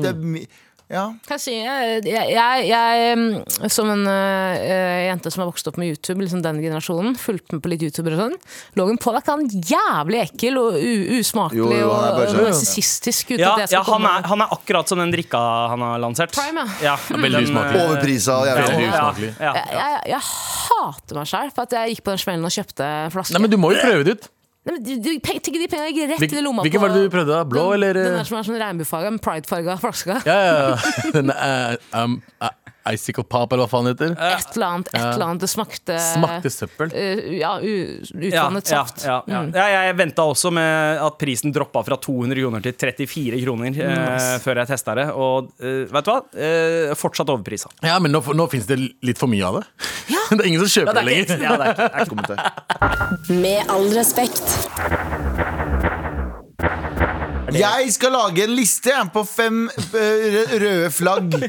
B: det er my ja.
D: Kan jeg si, jeg, jeg, jeg mm, som en øh, jente som har vokst opp med YouTube, liksom den generasjonen, fulgte med på litt YouTuber og sånn Logan Paul er ikke han jævlig ekkel og u usmakelig
B: Jo, jo, han er bare
D: og
B: sånn, ja.
D: narsissistisk? uten
C: Ja,
D: at jeg skal
C: ja han,
D: komme-
C: er, han er akkurat som den drikka han har lansert.
D: Prime,
C: ja. Eh,
A: veldig
C: Den,
A: usmakelig.
C: eh,
B: Overprisa og
C: ja,
B: jævlig.
A: Veldig
C: ja,
A: usmakelig.
C: ja.
D: jeg, jeg, jeg hater meg sjæl for at jeg gikk på den smellen og kjøpte flaske.
A: Nei, men du må jo prøve det ut.
D: Nei, men de, de, pe- tenk, de pengene gikk rett
A: Hvil-
D: i lomma
A: hvilken var det du prøvde da? Blå,
D: den,
A: eller,
D: Den
A: eh?
D: der som er sånn regnbuefarga, med pridefarga flaske.
A: Ja, ja. Den er um, uh, Icicle Pop, eller hva faen det heter.
D: Et eller annet, et eller annet. Det smakte
A: Smakte søppel.
D: eh, Ja, u-
C: Ja,
D: utvannet
C: ja,
D: saft.
C: ja, ja. ja, jeg venta også med at prisen droppa fra 200 kroner til 34 kroner eh, før jeg testa det. Og eh, vet du hva? Eh, fortsatt overprisa.
A: Ja, men nå, nå fins det litt for mye av det. det er ingen som kjøper
C: Ja, det
A: det
C: er ikke,
A: lenger.
C: ja, det er ikke,
B: Ikke kommentar.
F: Med all respekt.
B: Jeg skal lage en liste jeg, på fem eh, rø- røde flagg.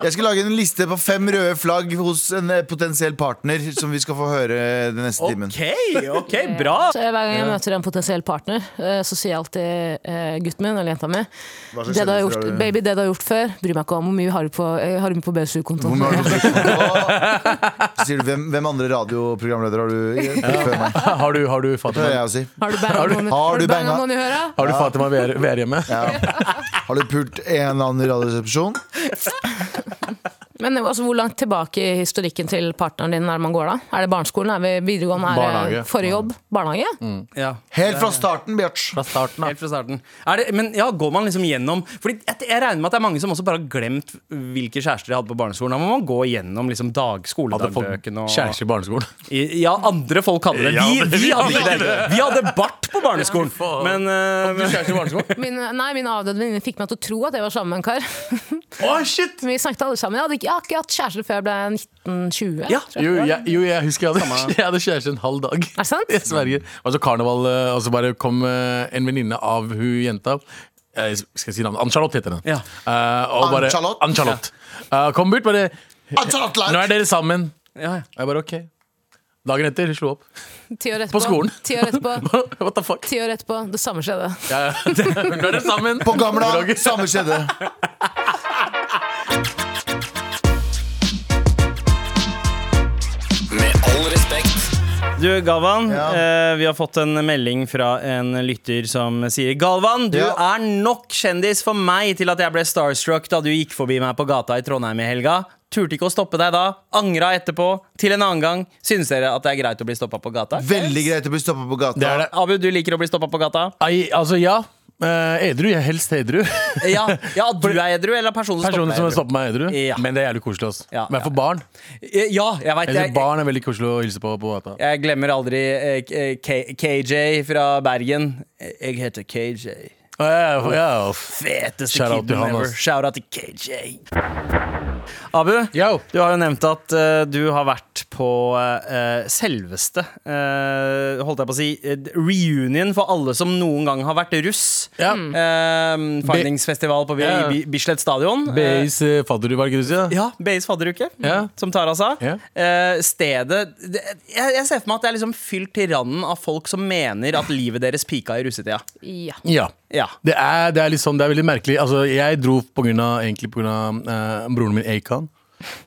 B: Jeg skal lage en liste på fem røde flagg hos en eh, potensiell partner, som vi skal få høre den neste timen.
C: OK, ok, bra!
D: Mm. Så Hver gang jeg møter en potensiell partner, eh, så sier jeg alltid eh, gutten min eller jenta mi
B: Hva slags
D: det du har
B: kjendiser
D: gjort,
B: har du?
D: Baby, det du har gjort før, bryr meg ikke om hvor mye har du på, eh, har du på
B: Hvor
D: BSU-kontoen.
B: mange har du fått? Så Sier du, hvem, hvem andre radioprogramledere har du før meg?
A: Har du, har du
B: Det hører
A: Fatima,
B: jeg å si.
D: Har du
B: har du banga-
D: banga noen i- har du banga noen i høra?
A: har du Fatima VR, hjemme?
B: Har du pult en eller annen radioresepsjon?
D: Men altså, Hvor langt tilbake i historikken til partneren din er det man går da? Er det barneskolen? Er vi videregående? Er
A: Barnehage.
D: det forrige jobb? Barnehage?
C: Ja.
B: Helt fra starten, Bjørts.
A: Fra starten av.
C: Helt fra starten. Er det, men ja, går man liksom gjennom Fordi jeg, jeg regner med at det er mange som også bare har glemt hvilke kjærester de hadde på barneskolen. Da må man gå gjennom liksom dag,
A: Hadde folk
C: skoledagbøkene og
A: kjæreste i barneskolen?
C: I- Ja, andre folk hadde det.
A: Ja,
C: Vi,
A: men
C: vi,
A: vi
C: hadde
A: hadde
C: ikke det. Vi hadde bart på barneskolen. Men, eh, men
A: Kjæreste i barneskolen?
D: Min, nei, min avdøde venninne fikk meg til å tro at jeg var sammen med en kar.
A: Å, shit!
D: Vi snakket alle sammen. Jeg hadde ikke, jeg har ikke hatt kjæreste før jeg ble 1920.
C: ja.
A: Jo, jeg, jo, jeg husker jeg hadde, jeg hadde kjæreste en halv dag.
D: Er det sant?
A: I Sverige. Og så karneval, eh, og så bare kom eh, en venninne av hun jenta. Eh, Skal jeg si navnet? Ann-Charlotte heter hun.
C: Ja.
A: Eh, og bare-
B: Ann-Charlotte?
A: Ann-Charlotte. Eh, Kom bort, bare Nå er
B: Antalatlar!
A: dere sammen.
C: Ja, ja.
A: Jeg bare OK. Dagen etter hun slo opp.
D: Ti år etterpå.
A: På skolen.
D: Ti år etterpå.
A: What the fuck?
D: Ti år etterpå. Det samme skjedde.
A: Ja, ja. Nå er dere sammen.
B: På gamla,
A: Roger.
B: samme skjedde.
E: Med all respekt.
C: Du, Galvan,
B: Ja.
C: eh, vi har fått en melding fra en lytter som sier Galvan, du
B: Ja.
C: er nok kjendis for meg til at jeg ble starstruck da du gikk forbi meg på gata i Trondheim i helga. Turte ikke å stoppe deg da. Angra etterpå. Til en annen gang. Syns dere at det er greit å bli stoppa på gata?
B: Veldig greit å bli stoppa på gata.
A: Det er det.
C: Abu, du liker å bli stoppa på gata?
A: Ei, altså, ja. Eh, edru. Jeg er helst edru.
C: Ja, ja at du er edru, eller personen,
A: Personen som
C: som stopper
A: har
C: deg?
A: stoppet meg, er edru.
C: Ja.
A: Men det er jævlig koselig. ass.
C: Ja,
A: Men
C: ja,
A: for barn
C: edru? Ja, jeg vet
A: Eller
C: jeg-
A: barn er veldig koselig å hilse på på gata.
C: Jeg glemmer aldri eh, K- K- KJ fra Bergen. Jeg heter KJ.
A: Ja, ja, ja.
C: Feteste
A: Shout out til
C: kiden
A: han,
C: ever.
A: ass.
C: Shout out til KJ. Abu,
A: Yo.
C: du har jo nevnt at eh, du har vært på eh, selveste eh, Holdt jeg på å si eh, reunion for alle som noen gang har vært russ.
A: Ja.
C: Eh, Fightingsfestival på Bi-
A: Ja.
C: Bi- Bislett stadion. Eh,
A: BIs eh, fadderudvalg i Rusia.
C: ja, BIs fadderuke,
A: Ja.
C: som Tara sa.
A: Ja.
C: Eh, stedet det, jeg, jeg ser for meg at det er liksom fylt til randen av folk som mener at livet deres pika i russetida.
D: Ja.
A: Ja.
C: Ja.
A: Det er, det er litt sånn, det er veldig merkelig. Altså, jeg dro på grunn av, egentlig pga. Uh, broren min Akan.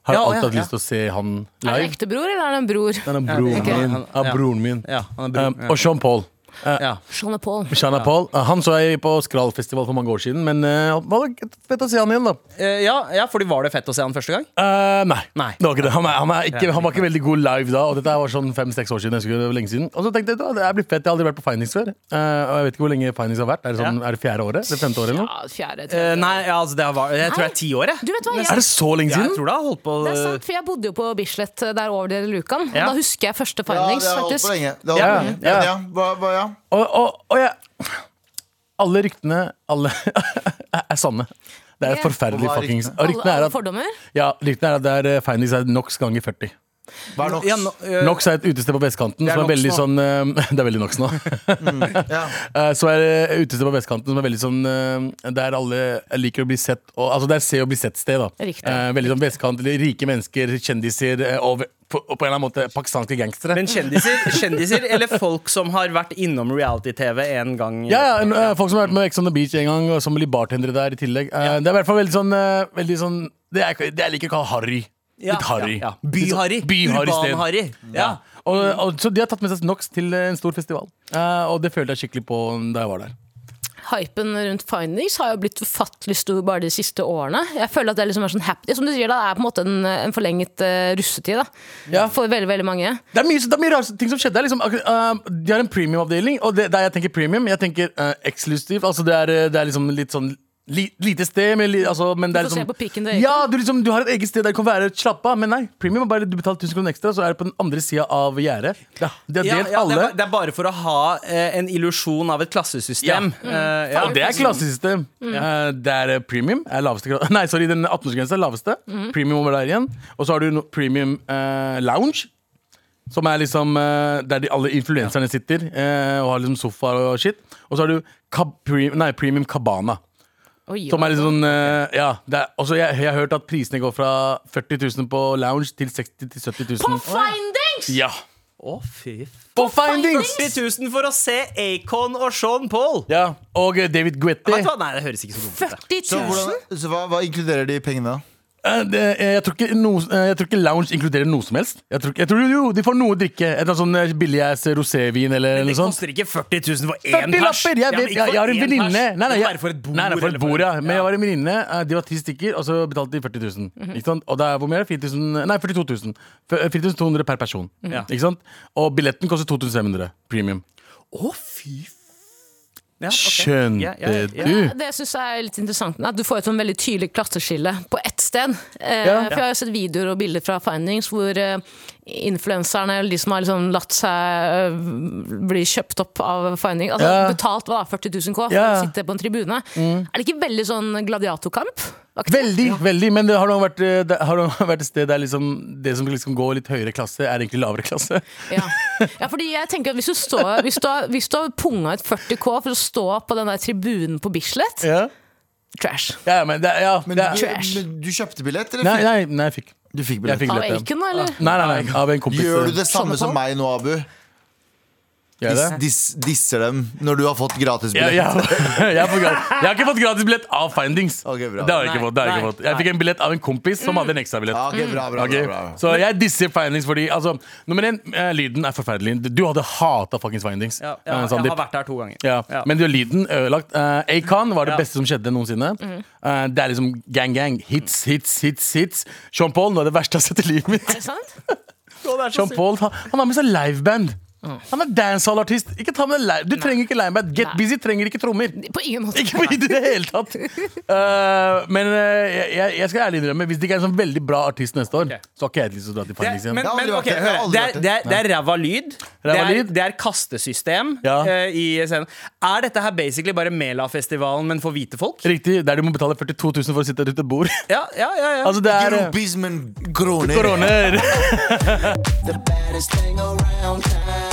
A: Har
C: Ja, å, ja,
A: alltid hatt
C: ja.
A: lyst til å se han
D: Er det en
A: live.
D: ekte bror, eller er det en bror?
A: Han er broren
C: ok.
A: min.
C: Han-
A: Han
C: ja.
A: er broren min.
C: ja, han er
A: Um,
C: brun.
A: og Sean Paul.
C: ja.
D: Sean og Paul.
A: Sean Paul. Uh, han så jeg på Skrall-festival for mange år siden, men uh, det var fett å se han igjen, da.
C: Eh, ja, ja, fordi var det fett å se han første gang?
A: Eh, nei.
C: Nei.
A: det var ikke det. Han, er, han, er ikke, han var ikke veldig god live da, og dette her var sånn fem-seks år siden. Jeg husker det var lenge siden Og så tenkte jeg da, det her blir fett, jeg har aldri vært på Finings før. Eh, og jeg vet ikke hvor lenge Finings har vært. Er det, sånn, er det fjerde året? Det femte året eller noe?
D: Ja, fjerde,
C: Eh,
D: tredje.
C: nei, ja, altså, det var, jeg tror det er ti år, jeg.
D: Du vet hva, jeg
A: Er det så lenge
C: Jeg
A: siden?
C: tror det har holdt på
D: Det er sant, for jeg bodde jo på Bislett eh, der over der lukan.
C: Ja.
D: Og da husker jeg
B: Ja,
D: første findings,
B: det har holdt
D: faktisk.
B: på lenge. Det har holdt
A: Ja,
B: på lenge.
A: ja.
B: Men ja, hva, hva, ja.
A: Og, og, og jeg Alle ryktene alle er sanne. Det er
D: Ja.
A: forferdelig
B: Og hva er
A: fuckings
B: ryktene?
A: og ryktene er
D: alle
A: at,
D: fordommer.
A: ja, ryktene er at det er eh, Findings er NOx ganger 40.
B: Hva er
C: Ja,
B: NOx?
C: nå- eh,
A: NOx er et utested på vestkanten
C: det er
A: som
C: Nox
A: er veldig
C: nå.
A: sånn eh, Det er veldig NOx nå.
B: Ja.
A: Eh, Så er det utested på vestkanten som er veldig sånn eh, Der alle liker å bli sett og, Altså det er se og bli sett-sted da
D: Riktig.
A: Eh, Veldig sånn vestkant, eller rike mennesker, kjendiser eh, Og, på, og på en eller annen måte pakistanske gangstere
C: Men kjendiser, kjendiser eller folk som har vært innom reality-TV en gang?
A: ja, ja, en, eh, folk som har vært med Ex on the Beach en gang Og som blir bartendere der i tillegg Eh, Det er i hvert fall veldig sånn, eh, veldig sånn det, er, det jeg liker å kalle Harry
C: Ja,
A: Litt sånn Harry
C: ja, ja. By-harry.
A: By-harry-sted.
C: Urban-harry. Ja.
A: og, og, Så de har tatt med seg Nox til eh, en stor festival Eh, Og det følte jeg skikkelig på da jeg var der
D: Hypen rundt findings har jo blitt ufattelig stor bare de siste årene. Jeg føler at det liksom er sånn happy. Som du sier, da, det er på en måte en, en forlenget eh, russetid da.
A: Ja.
D: for veldig veldig mange.
A: Det er mye, det er mye rare ting som skjedde. her, Liksom, Ak- eh, de har en premiumavdeling, og det, der jeg tenker premium, jeg tenker eh, eksklusivt. Altså, det, er, eh, det er liksom litt sånn li, lite sted, men, li, altså, men det er
D: Du får
A: liksom
D: se på pikken til øyet.
A: Ja, du, liksom, du har et eget sted der du kan være slappe av, men nei. Premium er bare du betaler 1000 kroner ekstra, så er det på den andre sida av gjerdet. Det er- det er
C: Ja,
A: delt
C: ja, det,
A: alle.
C: er, ba- det er bare for å ha eh, en illusjon av et klassesystem. Eh, ja.
A: Og det er klassesystem. Eh, det er eh, premium. Er laveste grad. Nei, sorry, den 18-årsgrensa er laveste. Premium over der igjen. Og så har du no premium eh, lounge. Som er liksom eh, der de, alle influenserne sitter eh, og har liksom sofaer og shit. Og så har du kab pre nei, premium cabana.
D: Oi,
A: Som
D: oi.
A: er litt sånn eh, Ja. Det er, også jeg, jeg har hørt at prisene går fra 40 000 på lounge til 60 000-70
D: På
A: 000.
D: findings!
A: Ja.
C: Å, fy
A: På findings!
C: 40 000 for å se Acon og Sean Paul!
A: Ja. Og eh, David Guetti.
C: Vet du hva? Nei, det høres ikke så dumt ut.
D: 40
B: Så,
D: 000!
B: hvordan, så hva, hva inkluderer de pengene, da?
A: Eh, det, eh, jeg, tror ikke noe- eh, jeg tror ikke lounge inkluderer noe som helst. Jeg tror, ikke- jeg tror jo de får noe å drikke. Et eller annet sånn eh, billigass rosévin eller noe
C: Det
A: sånt.
C: koster ikke 40 000 for én
A: 40
C: pers!
A: lapper! Jeg,
C: Ja, men ikke
A: vet, jeg,
C: for
A: jeg har en
C: én
A: venninne.
C: pers.
A: Nei, nei,
C: Det må
A: jeg-
C: være for et bord.
A: Nei, nei, for
C: eller
A: et bord ja. Men jeg var en venninne. eh, De var ti stykker, og så betalte de 40 000.
C: Mhm.
A: Ikke sant? Og det er hvor mye? er det? 4000, nei, 42 000. F- eh, 4200 per person.
C: Ja.
A: Ikke sant? Og billetten koster 2500 premium.
C: Å, fy f... Ja, ok. Ja,
A: Skjønte
C: ja, ja.
A: du?
D: Det jeg synes er litt interessant, at du får et sånn veldig tydelig klasseskille på ett sted. Eh,
A: Ja.
D: For Jeg har jo sett videoer og bilder fra Findings hvor eh, influenserne, eller de som har liksom latt seg eh, bli kjøpt opp av Findings, altså
A: Ja.
D: betalt hva, da, 40 000 K for
A: Ja. Mm.
D: å sitte på en tribune. Er det ikke veldig sånn gladiatorkamp? Aktig?
A: Veldig, veldig, men det har nå vært, eh, det har nå vært et sted der liksom, det som liksom går litt høyere klasse, er egentlig lavere klasse.
D: Ja. ja, fordi jeg tenker at hvis du, står, hvis du, har, hvis du har punga ut 40 K for å stå på den der tribunen på Bislett,
A: Ja.
D: trash.
A: Ja, ja, men det, ja,
B: Men
A: det,
B: du,
A: er-
D: Trash.
B: men du kjøpte billett, eller?
A: nei,
B: fikk-
A: nei, nei, jeg fikk,
B: Du fikk
A: jeg
B: billett.
A: fikk
D: Av
A: billett. ja.
D: Aiken, da, eller?
A: Nei, nei, nei, av en kompis.
B: Gjør du det
D: Sånn
B: samme
D: på?
B: som meg nå, Abu?
A: Gjør
B: dis,
A: jeg det?
B: dis, disser dem når du har fått
A: Jeg,
B: gratisbillett.
A: jeg, jeg, har fått gratis, jeg har ikke fått gratis billett av Findings.
B: Ok, bra.
A: det har jeg ikke
D: Nei,
A: fått. Det har jeg,
D: nei,
A: ikke fått. jeg fikk en billett av en kompis
C: Mm.
A: som hadde en ekstrabillett.
B: Ja, ok, bra, bra,
A: Ok,
B: bra, bra, bra.
A: Så jeg disser findings fordi altså, Nummer én, eh, lyden er forferdelig. Du hadde hata fuckings findings.
C: Ja,
A: eh,
C: ja, jeg
A: Sandeep.
C: har vært der to ganger.
A: Ja.
C: Ja.
A: Men det er lyden ødelagt. Uh, Acon var
C: Ja.
A: det
C: Mm.
A: beste som skjedde noensinne. Eh, det er liksom gang-gang. Hits, hits, hits. hits Sean Paul, noe av det verste jeg har sett i livet mitt.
D: Er det sant?
A: Sean Paul, han, han har med seg liveband. Han er dancehall-artist. Ikke ta med deg live Du trenger ikke liveband. Get
D: Nei.
A: Busy trenger ikke trommer.
D: På ingen måte.
A: Ikke på i det hele tatt. Eh, men eh, jeg, jeg skal ærlig innrømme, hvis det ikke er en sånn veldig bra artist neste år,
C: Ok.
A: så har ikke jeg lyst til å dra til
C: Det,
A: Findings igjen.
C: men,
B: Jeg har
C: men,
B: aldri vært
C: ok,
B: der. Jeg har
C: hør,
B: aldri
C: det,
B: vært
C: er, det, er, det er ræva lyd. Det
A: liksom. Ræva
C: er,
A: lyd?
C: det er kastesystem
A: Ja.
C: eh, i scenen. Er dette her basically bare Melafestivalen, men for hvite folk?
A: Riktig, der du må betale 42 000 for å sitte rundt et bord.
C: Ja, ja, ja, ja.
A: altså, det er eh,
B: Gropismen kroner.
A: koroner.
G: the baddest thing around town.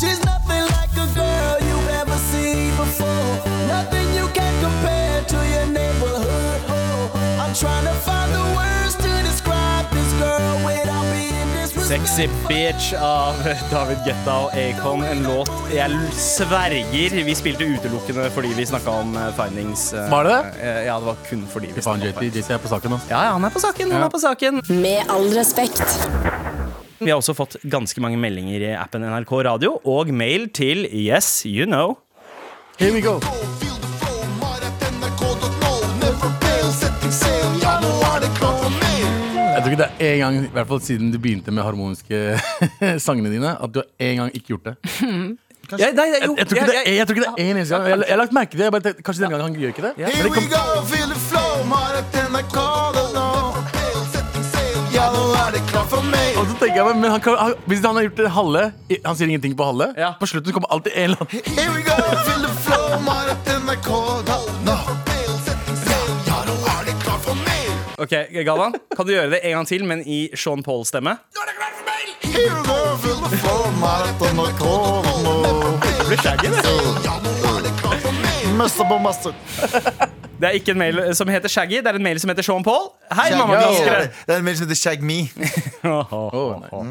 G: She's nothing like a girl you've ever seen before. Nothing you can compare to your neighborhood. Oh, I'm trying to find the words to describe this girl without being
C: Sexy
G: disrespectful.
C: Bitch av David Guetta og Acon. En låt jeg sverger vi spilte utelukkende fordi vi snakka om eh, findings. eh,
A: Var det det?
C: eh, Ja, det var kun fordi vi
A: Faen,
C: snakket om
A: JT,
C: findings.
A: JT er på saken nå.
C: Ja, ja, han er på saken. Han er på saken.
F: Med all respekt.
C: Vi har også fått ganske mange meldinger i appen NRK Radio og mail til yes, you know.
A: Here we go.
G: Feel the flow, mad at NRK.no. Never fail, setting sail. Y'all know how to come for me.
A: Jeg tror ikke det er en gang, i hvert fall siden du begynte med harmoniske sangene dine, at du har en gang ikke gjort det.
C: Jeg, nei, jeg,
A: Jeg,
C: jo,
A: jeg, tror, ikke det, er- jeg tror ikke det er en eneste gang. Jeg, jeg har lagt merke til det. Jeg bare tenkte, kanskje denne gangen han gjør ikke det. Men
B: Here
A: det
B: we
A: kom,
B: go, feel the flow, Marathon er kald og nå. Ja, nå er det klart for meg.
A: og så tenker jeg, men han kan, han, Hvis han har gjort det halve i- Han sier ingenting på halve.
C: Ja.
A: På slutten kommer alltid en eller annen
B: Here we go, feel the flow, Marathon er kald og nå. Ja, nå er det klart for meg.
C: Ok, Galvan, kan du gjøre det en gang til, men i Sean Paul-stemme?
B: Here we go, feel the flow, Marathon er kald og nå. Mester på mester.
C: Det er ikke en mail som heter Shaggy, det er en mail som heter Sean Paul. Hei, mammaklaskere!
B: Det er en mail som heter Shag Me.
A: Å, nei.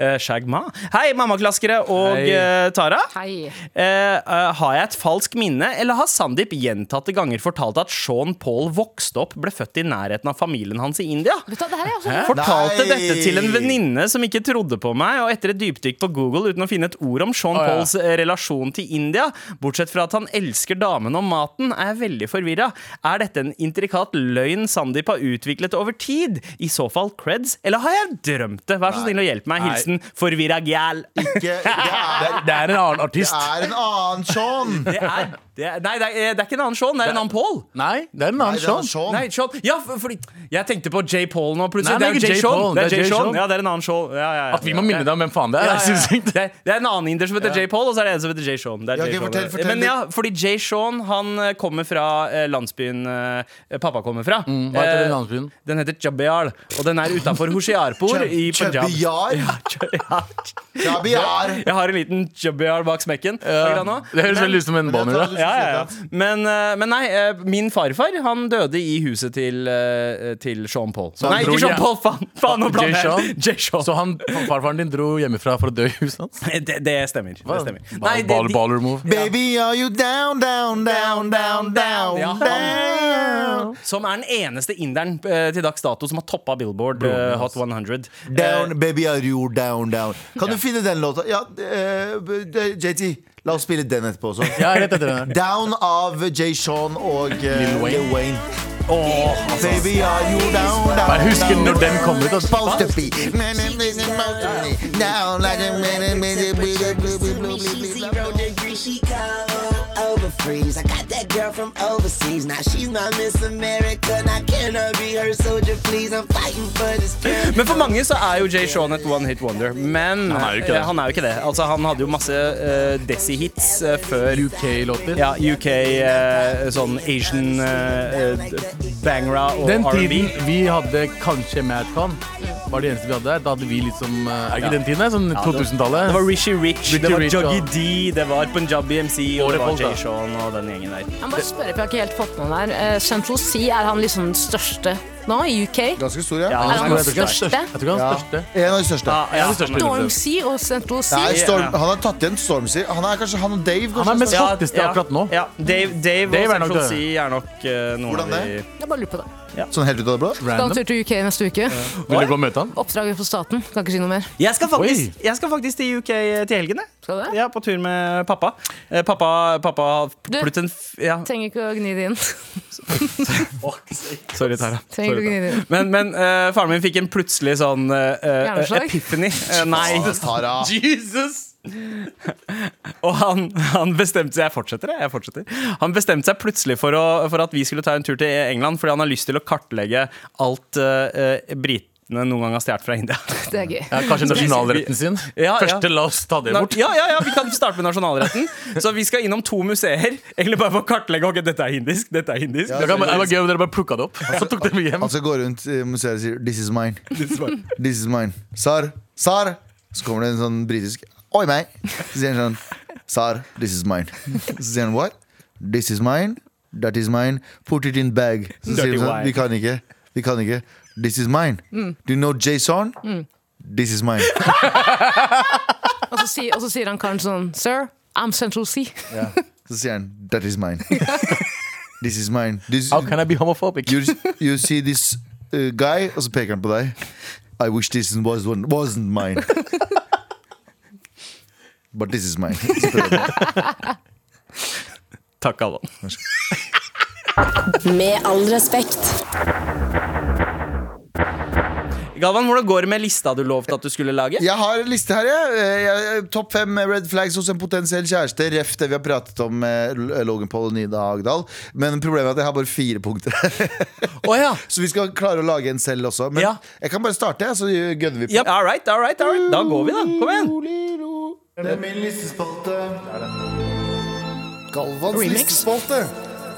C: Eh, Shagma. Hei, mammaklaskere og
A: Hei.
C: eh, Tara.
D: Hei.
C: Eh, eh, har jeg et falskt minne, eller har Sandeep gjentatte ganger fortalt at Sean Paul vokste opp, ble født i nærheten av familien hans i India?
D: Vet du, hva, det her er også
C: Fortalte
B: Nei.
C: dette til en venninne som ikke trodde på meg, og etter et dypdykk på Google uten å finne et ord om Sean
A: Å, ja.
C: Pauls eh, relasjon til India, bortsett fra at han elsker damene og maten, er jeg veldig forvirra. Er dette en intrikat løgn Sandeep har utviklet over tid? I så fall creds, eller har jeg drømt det? Vær så snill å hjelpe meg. Hilsen forvirra gæl.
B: Ikke, det,
A: Det,
B: er,
A: det er en annen
B: det
A: artist.
B: er en annen Sean.
C: Det er, det er, nei, det er, eh, det er ikke en annen Sean, det er en annen Paul.
A: Nei, det er en
B: Nei,
A: annen
B: det er en
A: Sean.
B: Sean.
C: Nei, Sean. Ja, for, fordi jeg tenkte på J. Paul nå, plutselig.
A: Nei, nei,
C: det er jo
A: ikke J.
C: J. Sean.
A: Paul,
C: Det er J.
A: Sean.
C: Sean. Ja, det er en annen Sean. Ja, ja, ja.
A: At vi må minne deg om hvem faen det er.
C: Ja, ja,
A: jeg synes
C: ja.
A: ikke
C: Det, det er en annen inder som heter J. Paul, og så er det en som heter J. Sean. Det er
B: Ja, ok,
C: J. Sean.
B: fortell, fortell
C: Men
B: litt.
C: ja, fordi J. Sean han eh, kommer fra eh, landsbyen eh, pappa kommer fra.
A: Mm, Hva heter den
C: Eh,
A: landsbyen?
C: den heter Chabyar, og den er utafor Hoshiarpur
B: Chab-
C: i Punjab.
B: Chabyar?
C: Ja, Chabyar.
B: Chabyar.
C: Jeg har en liten Chabyar bak smekken. akkurat nå.
A: Det høres veldig ut som en
B: Men det
A: boner.
B: tar du-
A: da.
C: Ja, ja, ja. Men, eh, men nei, eh, min farfar han døde i huset til, eh, til Sean Paul.
A: han
C: nei,
A: dro
C: ikke Sean
A: hjem-
C: Paul, faen! faen nå blander
A: J. Sean?
C: jeg. J. Sean.
A: Så han, farfaren din dro hjemmefra for å dø i huset hans?
C: Det, det stemmer. Det stemmer. Nei,
A: Ball,
C: det-
A: ball,
C: de-
A: baller move.
B: Baby, are you down, down, down, down, down,
C: Ja, han-
B: down,
C: Som er den eneste inderen eh, til dags dato som har toppa Billboard eh, Hot 100.
B: down, baby, are you down, down. Kan du finne den låta? Ja, eh, eh, JT, la oss spille den etterpå også.
A: Ja, rett etter den der.
B: Down av Jay Sean og eh,
A: Lil Wayne.
B: Lil Wayne.
C: Åh,
B: Baby, are you down, down,
A: Bare husker
B: down,
A: når den
B: down,
A: kom ut, altså.
B: supposed to be. Down like a minute, minute, minute, blue, blue, blue, blue, blue.
H: Zero degrees, she cold, over freeze. I got that girl from overseas. Now she's my Miss America. Now can I be her soldier, please? I'm fighting for this girl.
C: Eh, Men for mange så er jo Jay Sean et one hit wonder. Men
A: Han er jo ikke det.
C: eh, han er jo ikke det. Altså, han hadde jo masse eh, desi-hits eh, før
A: UK-låter.
C: ja, UK, eh, sånn Asian eh, eh, bangra og
A: Den
C: R&B.
A: tiden vi hadde kanskje Madcon, var det eneste vi hadde. Da hadde vi liksom eh, Er ikke
C: Ja.
A: den tiden? der, Sånn
C: det var- Det
A: 2000-tallet?
C: var Rishi Rich, det var
A: Rich,
C: Juggy
A: ja.
C: D, det var Punjabi MC, og det var
A: Folk, da.
C: Jay Sean og den gjengen der.
D: Jeg må bare spørre, for jeg har ikke helt fått med meg der. Eh, Central Sea, er han liksom den største nå i UK.
B: Ganske stor, ja.
C: Ja.
D: Er han den
A: Jeg tror ikke han er
D: største?
A: størst- jeg tror ikke han er den største.
B: En av de største.
C: Ja, ja,
A: Jeg er den største
D: Storm
A: Storm.
D: Sea og Central
B: Nei,
D: Sea.
B: Storm, han har tatt igjen Stormzy. Han er kanskje han og Dave. Kanskje,
A: Han er mest
C: Ja,
A: hotteste
C: ja,
A: akkurat nå.
C: Ja. Dave, Dave,
A: Dave er
C: og
A: nok
C: Central
A: det.
C: Sea er nok eh, noen
B: Hvordan
C: av de
D: Jeg bare lurer på det.
B: Sånn helt ut av det blå.
D: Skal en
A: Random.
D: tur til UK neste uke.
A: Vil du gå og møte han?
D: Oppdraget for staten. Kan ikke si noe mer.
C: jeg skal, faktisk,
A: Oi.
C: jeg skal faktisk til UK til helgen, jeg.
D: Skal du det?
C: Ja, på tur med pappa. Eh, Pappa, pappa har
D: Du-
C: plutselig en f ja.
D: Trenger ikke å gni det inn.
C: Sorry, Tara.
D: Trenger ikke å gni det inn.
C: Men, men eh, faren min fikk en plutselig sånn eh, eh,
D: Hjerneslag?
C: epiphany. Eh, nei.
B: Ah, Tara.
C: Jesus! Og han, han bestemte seg Jeg fortsetter, jeg. jeg fortsetter Han bestemte seg plutselig for, å, for at vi skulle ta en tur til England, fordi han har lyst til å kartlegge alt eh, eh, britene noen gang har stjålet fra India.
D: Det er gøy.
A: Ja, kanskje nasjonalretten sin.
C: Ja, ja.
A: Første, la oss ta det bort.
C: Ja, ja, ja, Vi kan starte med nasjonalretten. Så vi skal innom to museer. Egentlig bare for å kartlegge. Ok, dette er hindisk, dette er hindisk.
A: Det kan- det var gøy om dere bare plukka det opp. Så tok dere med hjem.
B: Han skal gå rundt i museet og sier 'This is mine'. This is mine Sar, Sar! Så kommer det en sånn britisk Oi, meg! Så sier han sånn Sar, this is mine. Så sier han what? This is mine. That is mine. Put it in bag. Så sier
C: Dirty
B: han sånn
C: wine.
B: Vi kan ikke. Vi kan ikke. This is mine. Do you know Jason? This is mine.
D: Og så, sier, og så sier han karen sånn Sir, I'm Central Sea.
B: Så sier han that is mine. This is mine. This,
A: How can I be homophobic?
B: you, you see this uh, guy, og så peker han på deg. I wish this was, wasn't mine. But this is mine. Så prøver jeg på.
C: Takk, Alvan.
F: Med all respekt.
C: Galvan, hvordan går det med lista du lovte at du skulle lage?
B: Jeg har en liste her, jeg. Eh, jeg. jeg- Topp fem red flags hos en potensiell kjæreste. Ref det vi har pratet om med L- eh, Logan Paul og Nida Hagdal. Men problemet er at jeg har bare fire punkter.
C: Å ja.
B: Så vi skal klare å lage en selv også. Men
C: Ja.
B: jeg kan bare starte, jeg, så gønner vi på.
C: Yep. All right, all right, all right. Da går vi, da. Kom igjen.
B: Det er min listespalte. Galvans listespalte.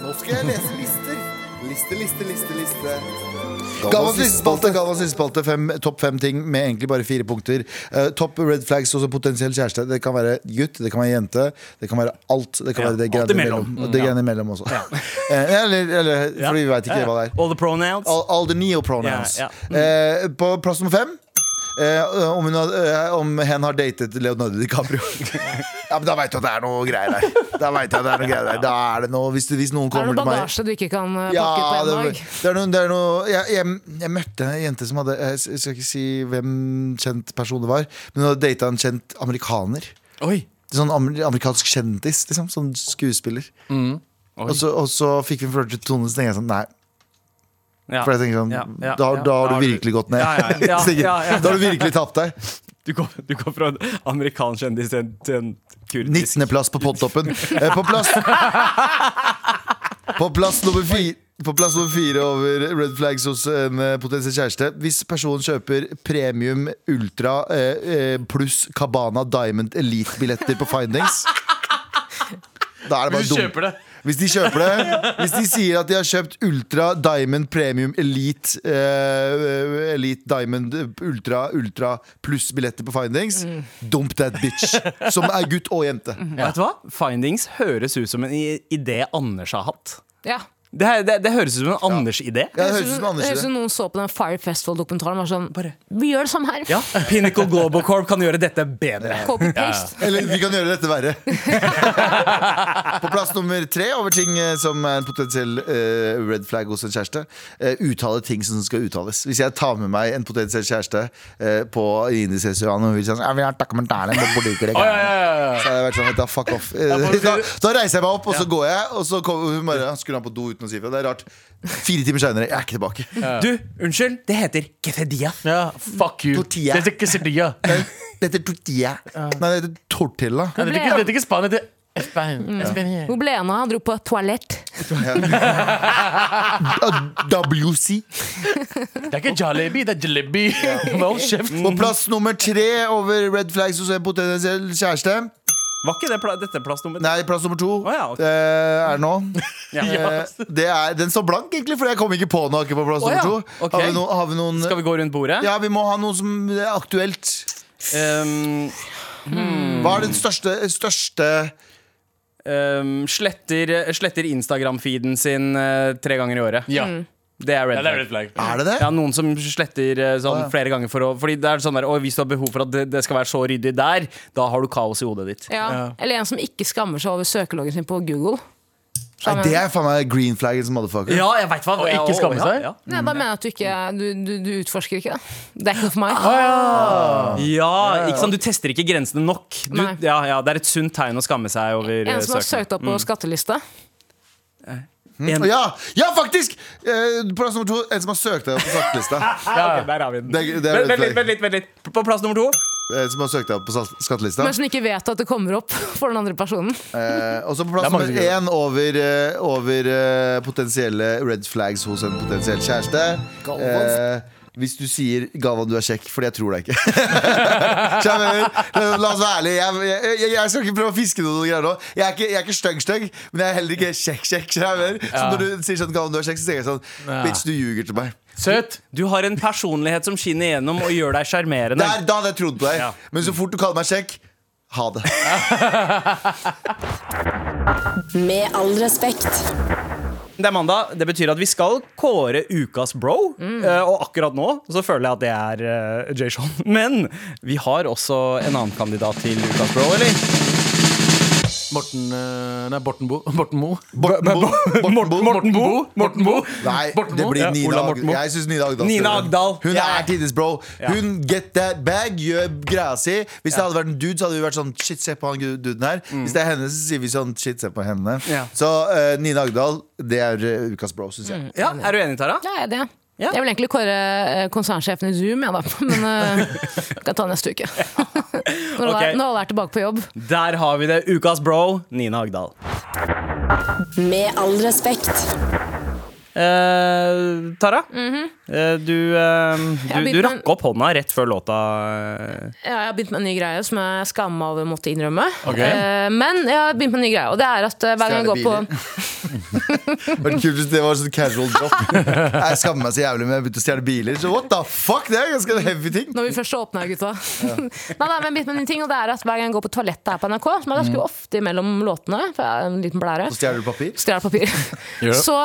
B: Nå skal jeg lese lister. Liste, liste, liste, liste. Galvans listespalte, Galvans listespalte fem, Topp fem ting med egentlig bare fire punkter. Eh, topp red flags hos en potensiell kjæreste. Det kan være gutt, det kan være jente. Det kan være alt. Det kan være det
C: alt
B: greiene
C: imellom.
B: imellom. Det greiene imellom også. Eh, eller, eller fordi vi veit ikke hva det er.
C: All the pronouns.
B: All, all the neopronouns.
C: Ja,
B: eh, på plass nummer fem eh, om, hun har, eh, om hen har datet Leonardo DiCaprio. ja, men da veit du at det er noe greier der. Da vet jeg at det Er noe greier der Da er det noe, hvis, det- hvis noen
D: Er det
B: kommer
D: noe
B: til meg
D: bagasje du ikke kan eh, pakke
B: ja,
D: på
B: det,
D: en dag?
B: det er noe, det er noe jeg, jeg, jeg møtte ei jente som hadde Jeg s- skal ikke si hvem kjent person det var, men hun hadde data en kjent amerikaner.
A: Oi.
B: Sånn amer- amerikansk kjendis, liksom. Sånn skuespiller.
C: Mm.
B: Og, så, og så fikk vi en flørtete tone, så tenkte jeg sånn Nei,
C: Ja.
B: for jeg tenker sånn,
C: Ja, ja,
B: da,
C: ja.
B: da har
C: Da
B: du virkelig gått ned.
C: Ja, ja, ja,
B: Så tenker jeg,
C: ja, ja.
B: Da har du virkelig tapt deg.
C: Du går, du går fra en amerikansk kjendis til en, til en kurdisk
B: 19. plass på podtoppen. Eh, På plass På plass nummer fire på plass nummer fire over red flags hos en eh, potensiell kjæreste. Hvis personen kjøper premium ultra eh, eh, pluss Cabana Diamond Elite-billetter på Findings Da er det bare
A: Hvis du
B: dumt.
A: kjøper det.
B: Hvis de kjøper det Hvis de sier at de har kjøpt Ultra Diamond Premium Elite eh, Elite Diamond Ultra Ultra pluss billetter på Findings
A: Mm.
B: Dump that bitch Som er gutt og jente
C: Vet du hva? Findings høres ut som en i- idé Anders har hatt.
D: Ja.
C: Det, her- det, det høres ut som en Anders-idé.
B: Ja, det høres ut som
D: Det høres ut
B: Anders
D: som
B: det
D: noen så på den Fire Festival-dokumentaren og var sånn
C: Bare-
D: Vi gjør det samme her.
C: Ja. Pinnacle Global Corp kan gjøre dette bedre.
D: Copy paste.
B: Eller vi kan gjøre dette verre På plass nummer tre Over ting eh, som er en potensiell eh, red flag hos en kjæreste eh, Uttale ting som skal uttales Hvis jeg tar med meg en potensiell kjæreste eh, På Indisesuan Og hun vil si sånn Jeg vil ha dokumentaren på politikere
A: Å, ja, ja, ja, ja.
B: Så hadde jeg vært sånn, da fuck off
A: bare-
B: da, da reiser jeg meg opp, og så går jeg Og så kommer hun bare, skulle han på do uten å si fra Det er rart, fire timer senere, jeg er ikke tilbake
C: Du, unnskyld, det heter gefedia.
A: Ja, fuck you.
B: Tortilla.
A: Det heter ikke Sevilla.
B: Dette er tortilla Nei, det er tortilla
A: Det heter ikke, det heter ikke Spania, det heter España. España.
D: Hvor ble han av? Han dro på toalett.
B: Ah, WC
A: Det er ikke jalebi, det er jalebi. Med all kjeft.
C: Mm,
B: På plass nummer tre over red flags hos en potensiell kjæreste
C: Var ikke det pla dette plassnummeret?
B: Nei, plass nummer to
C: Å, ja, ok.
B: Det er det nå
C: Ja.
B: Eh, det er, Den står blank egentlig, for jeg kom ikke på noe på plass
C: Å, ja.
B: nummer to
C: Ok.
B: Har vi noen, har vi noen
C: Skal vi gå rundt bordet?
B: Ja, vi må ha noe som er aktuelt
C: Um,
B: Hva er den største, største
C: Ehm,
D: Mm.
C: um, sletter sletter Instagram-feeden sin eh, tre ganger i året.
A: Ja.
C: Det er red
A: Ja, det er
C: flag.
A: red flag.
B: Er det det?
C: Ja, noen som sletter eh, sånn flere ganger for å Fordi det er sånn der, «Å, hvis du har behov for at det, det skal være så ryddig der, da har du kaos i hodet ditt.
D: Ja. Eller en som ikke skammer seg over søkeloggen sin på Google. Så
B: Nei, det er faen meg green flaggen som motherfucker.
C: Ja, jeg vet hva
A: Og ikke skamme
C: ja,
A: seg?
C: Ja,
D: Nei, da mener jeg at du ikke du, du, du utforsker ikke det. Det er ikke noe for meg.
C: Ah, Ja, ikke sant? Du tester ikke grensene nok. Du,
D: Nei.
C: ja, ja, det er et sunt tegn å skamme seg over eh,
D: En som har
C: søknad.
D: søkt opp på skattelista.
C: En- Mm.
B: Å, ja. ja, faktisk! Eh, plass nummer to, en som har søkt deg opp på skattelista.
C: Ja, ok, der har vi den.
B: Det er- det er red
C: Vent- vent litt,
B: flag.
C: vent litt, vent litt. På plass nummer to.
B: En som har søkt deg opp på salt- skattelista.
D: Men som ikke vet at det kommer opp for den andre personen.
B: Eh, og så på
A: Det
B: plass
A: er mange
B: nummer
A: som gjør
B: én over, eh, over eh, potensielle red flags hos en potensiell kjæreste. Eh, hvis du sier 'Galvan, du er kjekk', fordi jeg tror deg ikke. Skjønner du? La oss være ærlige. Jeg, jeg, jeg, jeg skal ikke prøve å fiske noe greier nå. Jeg er ikke, jeg er ikke stygg-stygg, men jeg er heller ikke kjekk-kjekk. Så når du sier sånn 'Galvan, du er kjekk', så tenker jeg sånn
A: Ja.
B: Bitch, du ljuger til meg.
A: Søt.
C: Du har en personlighet som skinner gjennom og gjør deg sjarmerende.
B: Der, da hadde jeg trodd på deg. Men så fort du kaller meg kjekk, ha det.
F: Med all respekt.
C: Det er mandag. Det betyr at vi skal kåre ukas bro.
D: Mm.
C: Eh, og akkurat nå så føler jeg at det er uh, Jay Sean. Men vi har også en annen kandidat til ukas bro, eller?
A: Morten eh, Nei, Borten Bo. Borten Mo.
B: Borten Bo. Borten Bo.
A: Morten Bo. Morten Bo.
B: Nei,
A: Borten
B: det
A: Mo.
B: blir
A: Ja.
B: Nina
A: Ola
B: Agdal.
A: Morten Mo.
B: Jeg syns Nina Agdal
C: Nina
B: skal gjøre det.
C: Agdal.
B: Hun
C: Ja.
B: er tidenes bro. Hun get that bag, gjør greia si. Hvis det hadde vært en dude, så hadde vi vært sånn shit, se på han duden her. Hvis det er henne, så sier vi sånn shit, se på henne.
C: Mm. Ja.
B: Så eh, Nina Agdal, det er eh, ukas bro, syns jeg.
C: Ja, Er du enig, Tara?
D: Ja, jeg er det.
C: Ja.
D: Jeg vil egentlig kåre eh, konsernsjefen i Zoom, ja, da. men eh, kan ta neste uke. Når alle
C: Ok.
D: er- når alle er tilbake på jobb.
C: Der har vi det. Ukas bro, Nina Agdal.
F: Med all respekt.
C: Eh, Tara, eh, du, eh,
D: Mhm.
C: du,
D: Jeg
C: du
D: begynte med-
C: rakk opp hånda rett før låta. eh,
D: Ja, jeg har begynt med en ny greie som jeg skammer meg over å måtte innrømme.
A: Ok.
D: Eh, men jeg har begynt med en ny greie, og det er at eh, hver gang jeg går på
B: Stjele Det var kult hvis det var sånn casual drop. Jeg skammer meg så jævlig men jeg begynte å stjele biler. Så what the fuck, det er ganske heavy ting.
D: Når vi først åpna, gutta. nei, nei, men jeg begynte med en ny ting, og det er at Hver gang jeg går på toalettet her på NRK, som er ganske
A: Mm.
D: ofte mellom låtene, for jeg er en liten blære
B: Så stjeler du papir.
D: Stjel papir.
A: Gjør det.
D: Så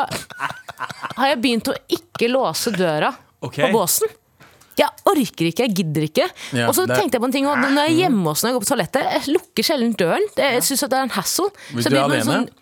D: har jeg begynt å ikke låse døra
C: Ok.
D: på båsen. Jeg orker ikke, jeg gidder ikke.
A: Ja,
D: og så
A: det er-
D: tenkte jeg på en ting og Når jeg er hjemme også, når jeg går på toalettet, jeg lukker sjelden døren. Det- Jeg syns det er en hassle.
A: Hvis
D: Så jeg
A: du er
D: begynner med
A: alene?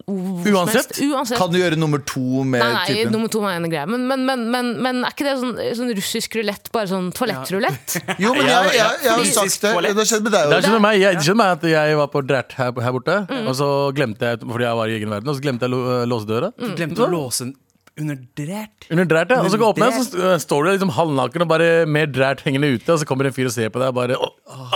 D: sånn-
A: Uansett?
D: uansett.
B: Kan du gjøre nummer to med
D: Nei, nei,
B: typen?
D: nummer to var en greie. Men, men, men, men, men er ikke det sånn, sånn russisk rulett, bare sånn toalettrulett?
B: Jo, men
C: Ja,
B: jeg, jeg, jeg har
C: fysisk
B: sagt det.
C: toalett.
B: Det har skjedd med deg
A: Det
B: òg.
A: skjedde meg, jeg, det skjedde meg at jeg var på drært her, her borte, og så glemte jeg fordi jeg var i egen verden, og så glemte jeg lo- eh, låsedøra.
C: Du glemte å låse den under drært.
A: Under drært, ja. Og så går jeg åpner jeg, så st- eh, står du liksom halvnaken og bare mer drært hengende ute, og så kommer en fyr og ser på deg og bare «Åh, åh,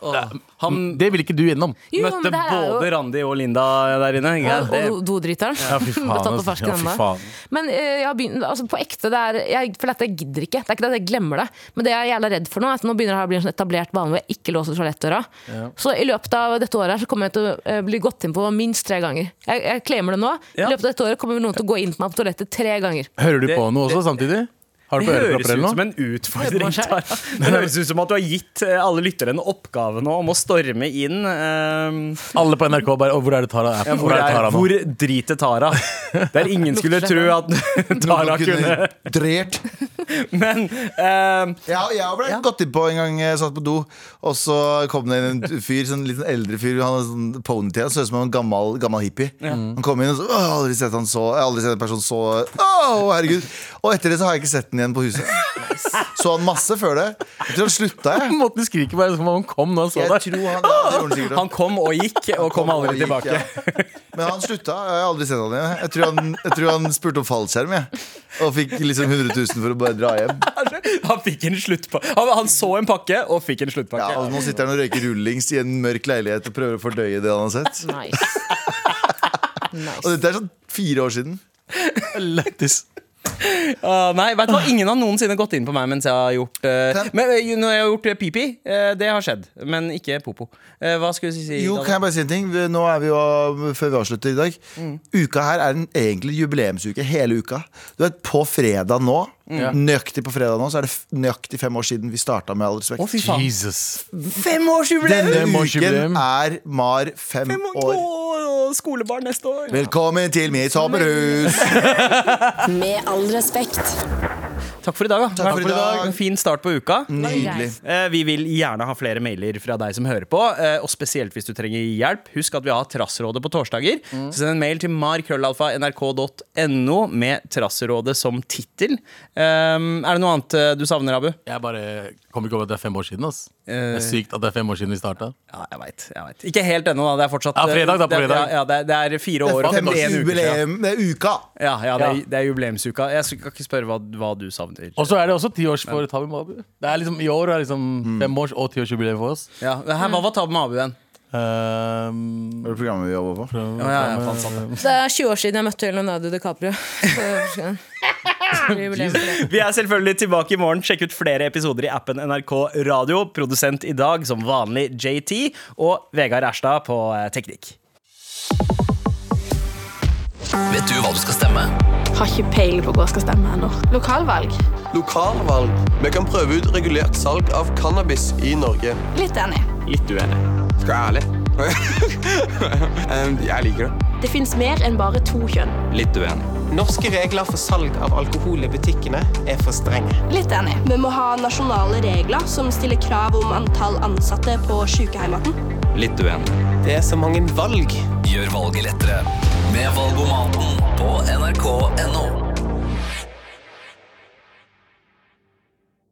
A: åh».
C: Han-
A: Det vil ikke du gjennom.
D: Jo, men
C: Møtte
D: det her er jo-
C: både Randi og Linda der inne. ikke sant?
D: Og, og do- dodriteren.
A: Ja, fy faen,
D: Ble tatt på
A: altså.
D: fersken
A: Ja, fy
D: enda.
A: faen.
D: Men eh, jeg har begynt, altså, på ekte, det er, jeg, for dette jeg gidder ikke. Det er ikke det at jeg glemmer det. Men det jeg er jævla redd for nå, er at nå begynner det her å bli en sånn etablert vane hvor jeg ikke låser toalettdøra. Så i løpet av dette året her, så kommer jeg til å eh, bli gått inn på minst tre ganger. Jeg, jeg claimer det nå.
C: Ja.
D: I løpet av dette året kommer noen til å gå inn på meg på toalettet tre ganger.
A: Hører du
C: Det-
A: på noe også samtidig? Har du
C: Det
A: på
C: høres
A: ørepropper
C: ut
A: eller
C: som
A: noe?
C: en utfordring. Tara. Det høres ut som at du har gitt eh, alle lyttere en oppgave nå om å storme inn. eh,
A: Alle på NRK bare «Åh, Hvor er det Tara er?
C: hvor,
A: Hvor er det Tara nå?
C: hvor driter Tara? Der ingen skulle tro at Tara kunne
B: Drert.
C: Men eh,
B: Jeg, jeg ble gått inn på en gang jeg satt på do, og så kom det inn en fyr, sånn liten eldre fyr. Han hadde sånn ponytail, så ut som en gammel, gammel hippie. Mm. Han kom inn og så «Åh, Jeg har aldri sett han så Jeg har aldri sett en person så Åh, herregud Og etter det så har jeg ikke sett den igjen på huset. Så han masse før det. Jeg tror han slutta, jeg.
A: Måten du skriker bare som om han kom nå og så
B: Jeg
A: deg.
B: tror han, ja, det gjorde han sikkert
C: han kom og gikk, og kom aldri
B: og gikk,
C: tilbake.
B: ja. Men han slutta. Jeg har aldri sett han igjen. Jeg tror han, jeg tror han spurte om fallskjerm, jeg. Og fikk liksom 100 000 for å bare dra hjem.
C: Han fikk en sluttpakke. Han, han så en pakke og fikk en
B: Ja,
C: sluttpakke.
B: og Nå sitter han og røyker rullings i en mørk leilighet og prøver å fordøye det han har sett.
D: Nice.
B: Og
D: nice.
B: dette er sånn fire år siden.
A: Lættis.
C: Ah, nei, vet du hva? Ingen har noensinne gått inn på meg mens jeg har gjort eh,
B: Kan-
C: Men eh, når jeg har gjort eh, pipi, eh, det har skjedd. Men ikke popo. Eh, hva skulle du si?
B: Jo,
C: Daniel?
B: kan jeg bare si en ting? Vi- Nå er vi jo, Før vi avslutter i dag. Uka her er en egentlig jubileumsuke. Hele uka. Du vet, På fredag nå, nøyaktig på fredag nå, så er det f- nøyaktig fem år siden vi starta med All respekt.
C: Å, fy faen.
A: Jesus.
C: Femårsjubileum!
B: Denne
A: Fem års
B: uken
A: jubileum.
B: er Mar fem år.
C: Å, skolebarn neste år.
B: Velkommen til mitt sommerhus!
F: Med all respekt.
C: Takk for i dag. da.
B: Takk for i dag. Mm.
C: En fin start på uka.
B: Nydelig.
C: Eh, Vi vil gjerne ha flere mailer fra deg som hører på, eh, og spesielt hvis du trenger hjelp. Husk at vi har Trassrådet på torsdager. Så Send en mail til markrøllalfa.nrk.no med Trassrådet som tittel. Um, er det noe annet eh, du savner, Abu?
A: Jeg bare kommer ikke over at det er fem år siden. ass
C: Eh.
A: Det er sykt at det er fem år siden vi starta.
C: Ja, jeg veit. Jeg vet. Ikke helt ennå, da. Det er fortsatt eh,
A: Ja, fredag da, på
C: det er-
A: fredag.
C: Ja, det er, det er fire år og 51 uker siden.
B: Jubileum det er uka.
C: Ja, ja, det, er,
A: Ja.
C: det er jubileumsuka. Jeg skal ikke spørre hva, hva du savner.
A: Og så er det også tiårs for Tabi Mabu. Det er liksom, I år er liksom
C: Mm.
A: femårs- og tiårsjubileum for oss.
C: Ja, det her, hva var tabben med Abu igjen?
A: Ehm,
B: Det er programmet vi jobber på.
C: Ja, ja, ja, faen, sant det.
D: Det er 20 år siden jeg møtte Leonardo DiCaprio. Så- Jubileum for det.
C: Vi er selvfølgelig tilbake i morgen. Sjekk ut flere episoder i appen NRK Radio. Produsent i dag som vanlig JT og Vegard Erstad på eh, Teknikk.
E: Vet du hva du skal stemme?
I: Har ikke peiling på hvor jeg skal stemme ennå. Lokalvalg?
J: Lokalvalg. Vi kan prøve ut regulert salg av cannabis i Norge.
I: Litt enig.
J: Litt uenig. Skal jeg være ærlig? Em, jeg liker det.
I: Det fins mer enn bare to kjønn.
J: Litt uenig. Norske regler for salg av alkohol i butikkene er for strenge.
I: Litt enig. Vi må ha nasjonale regler som stiller krav om antall ansatte på sykehjemmene.
J: Litt uenig. Det er så mange valg.
E: Gjør valget lettere med Valgomaten.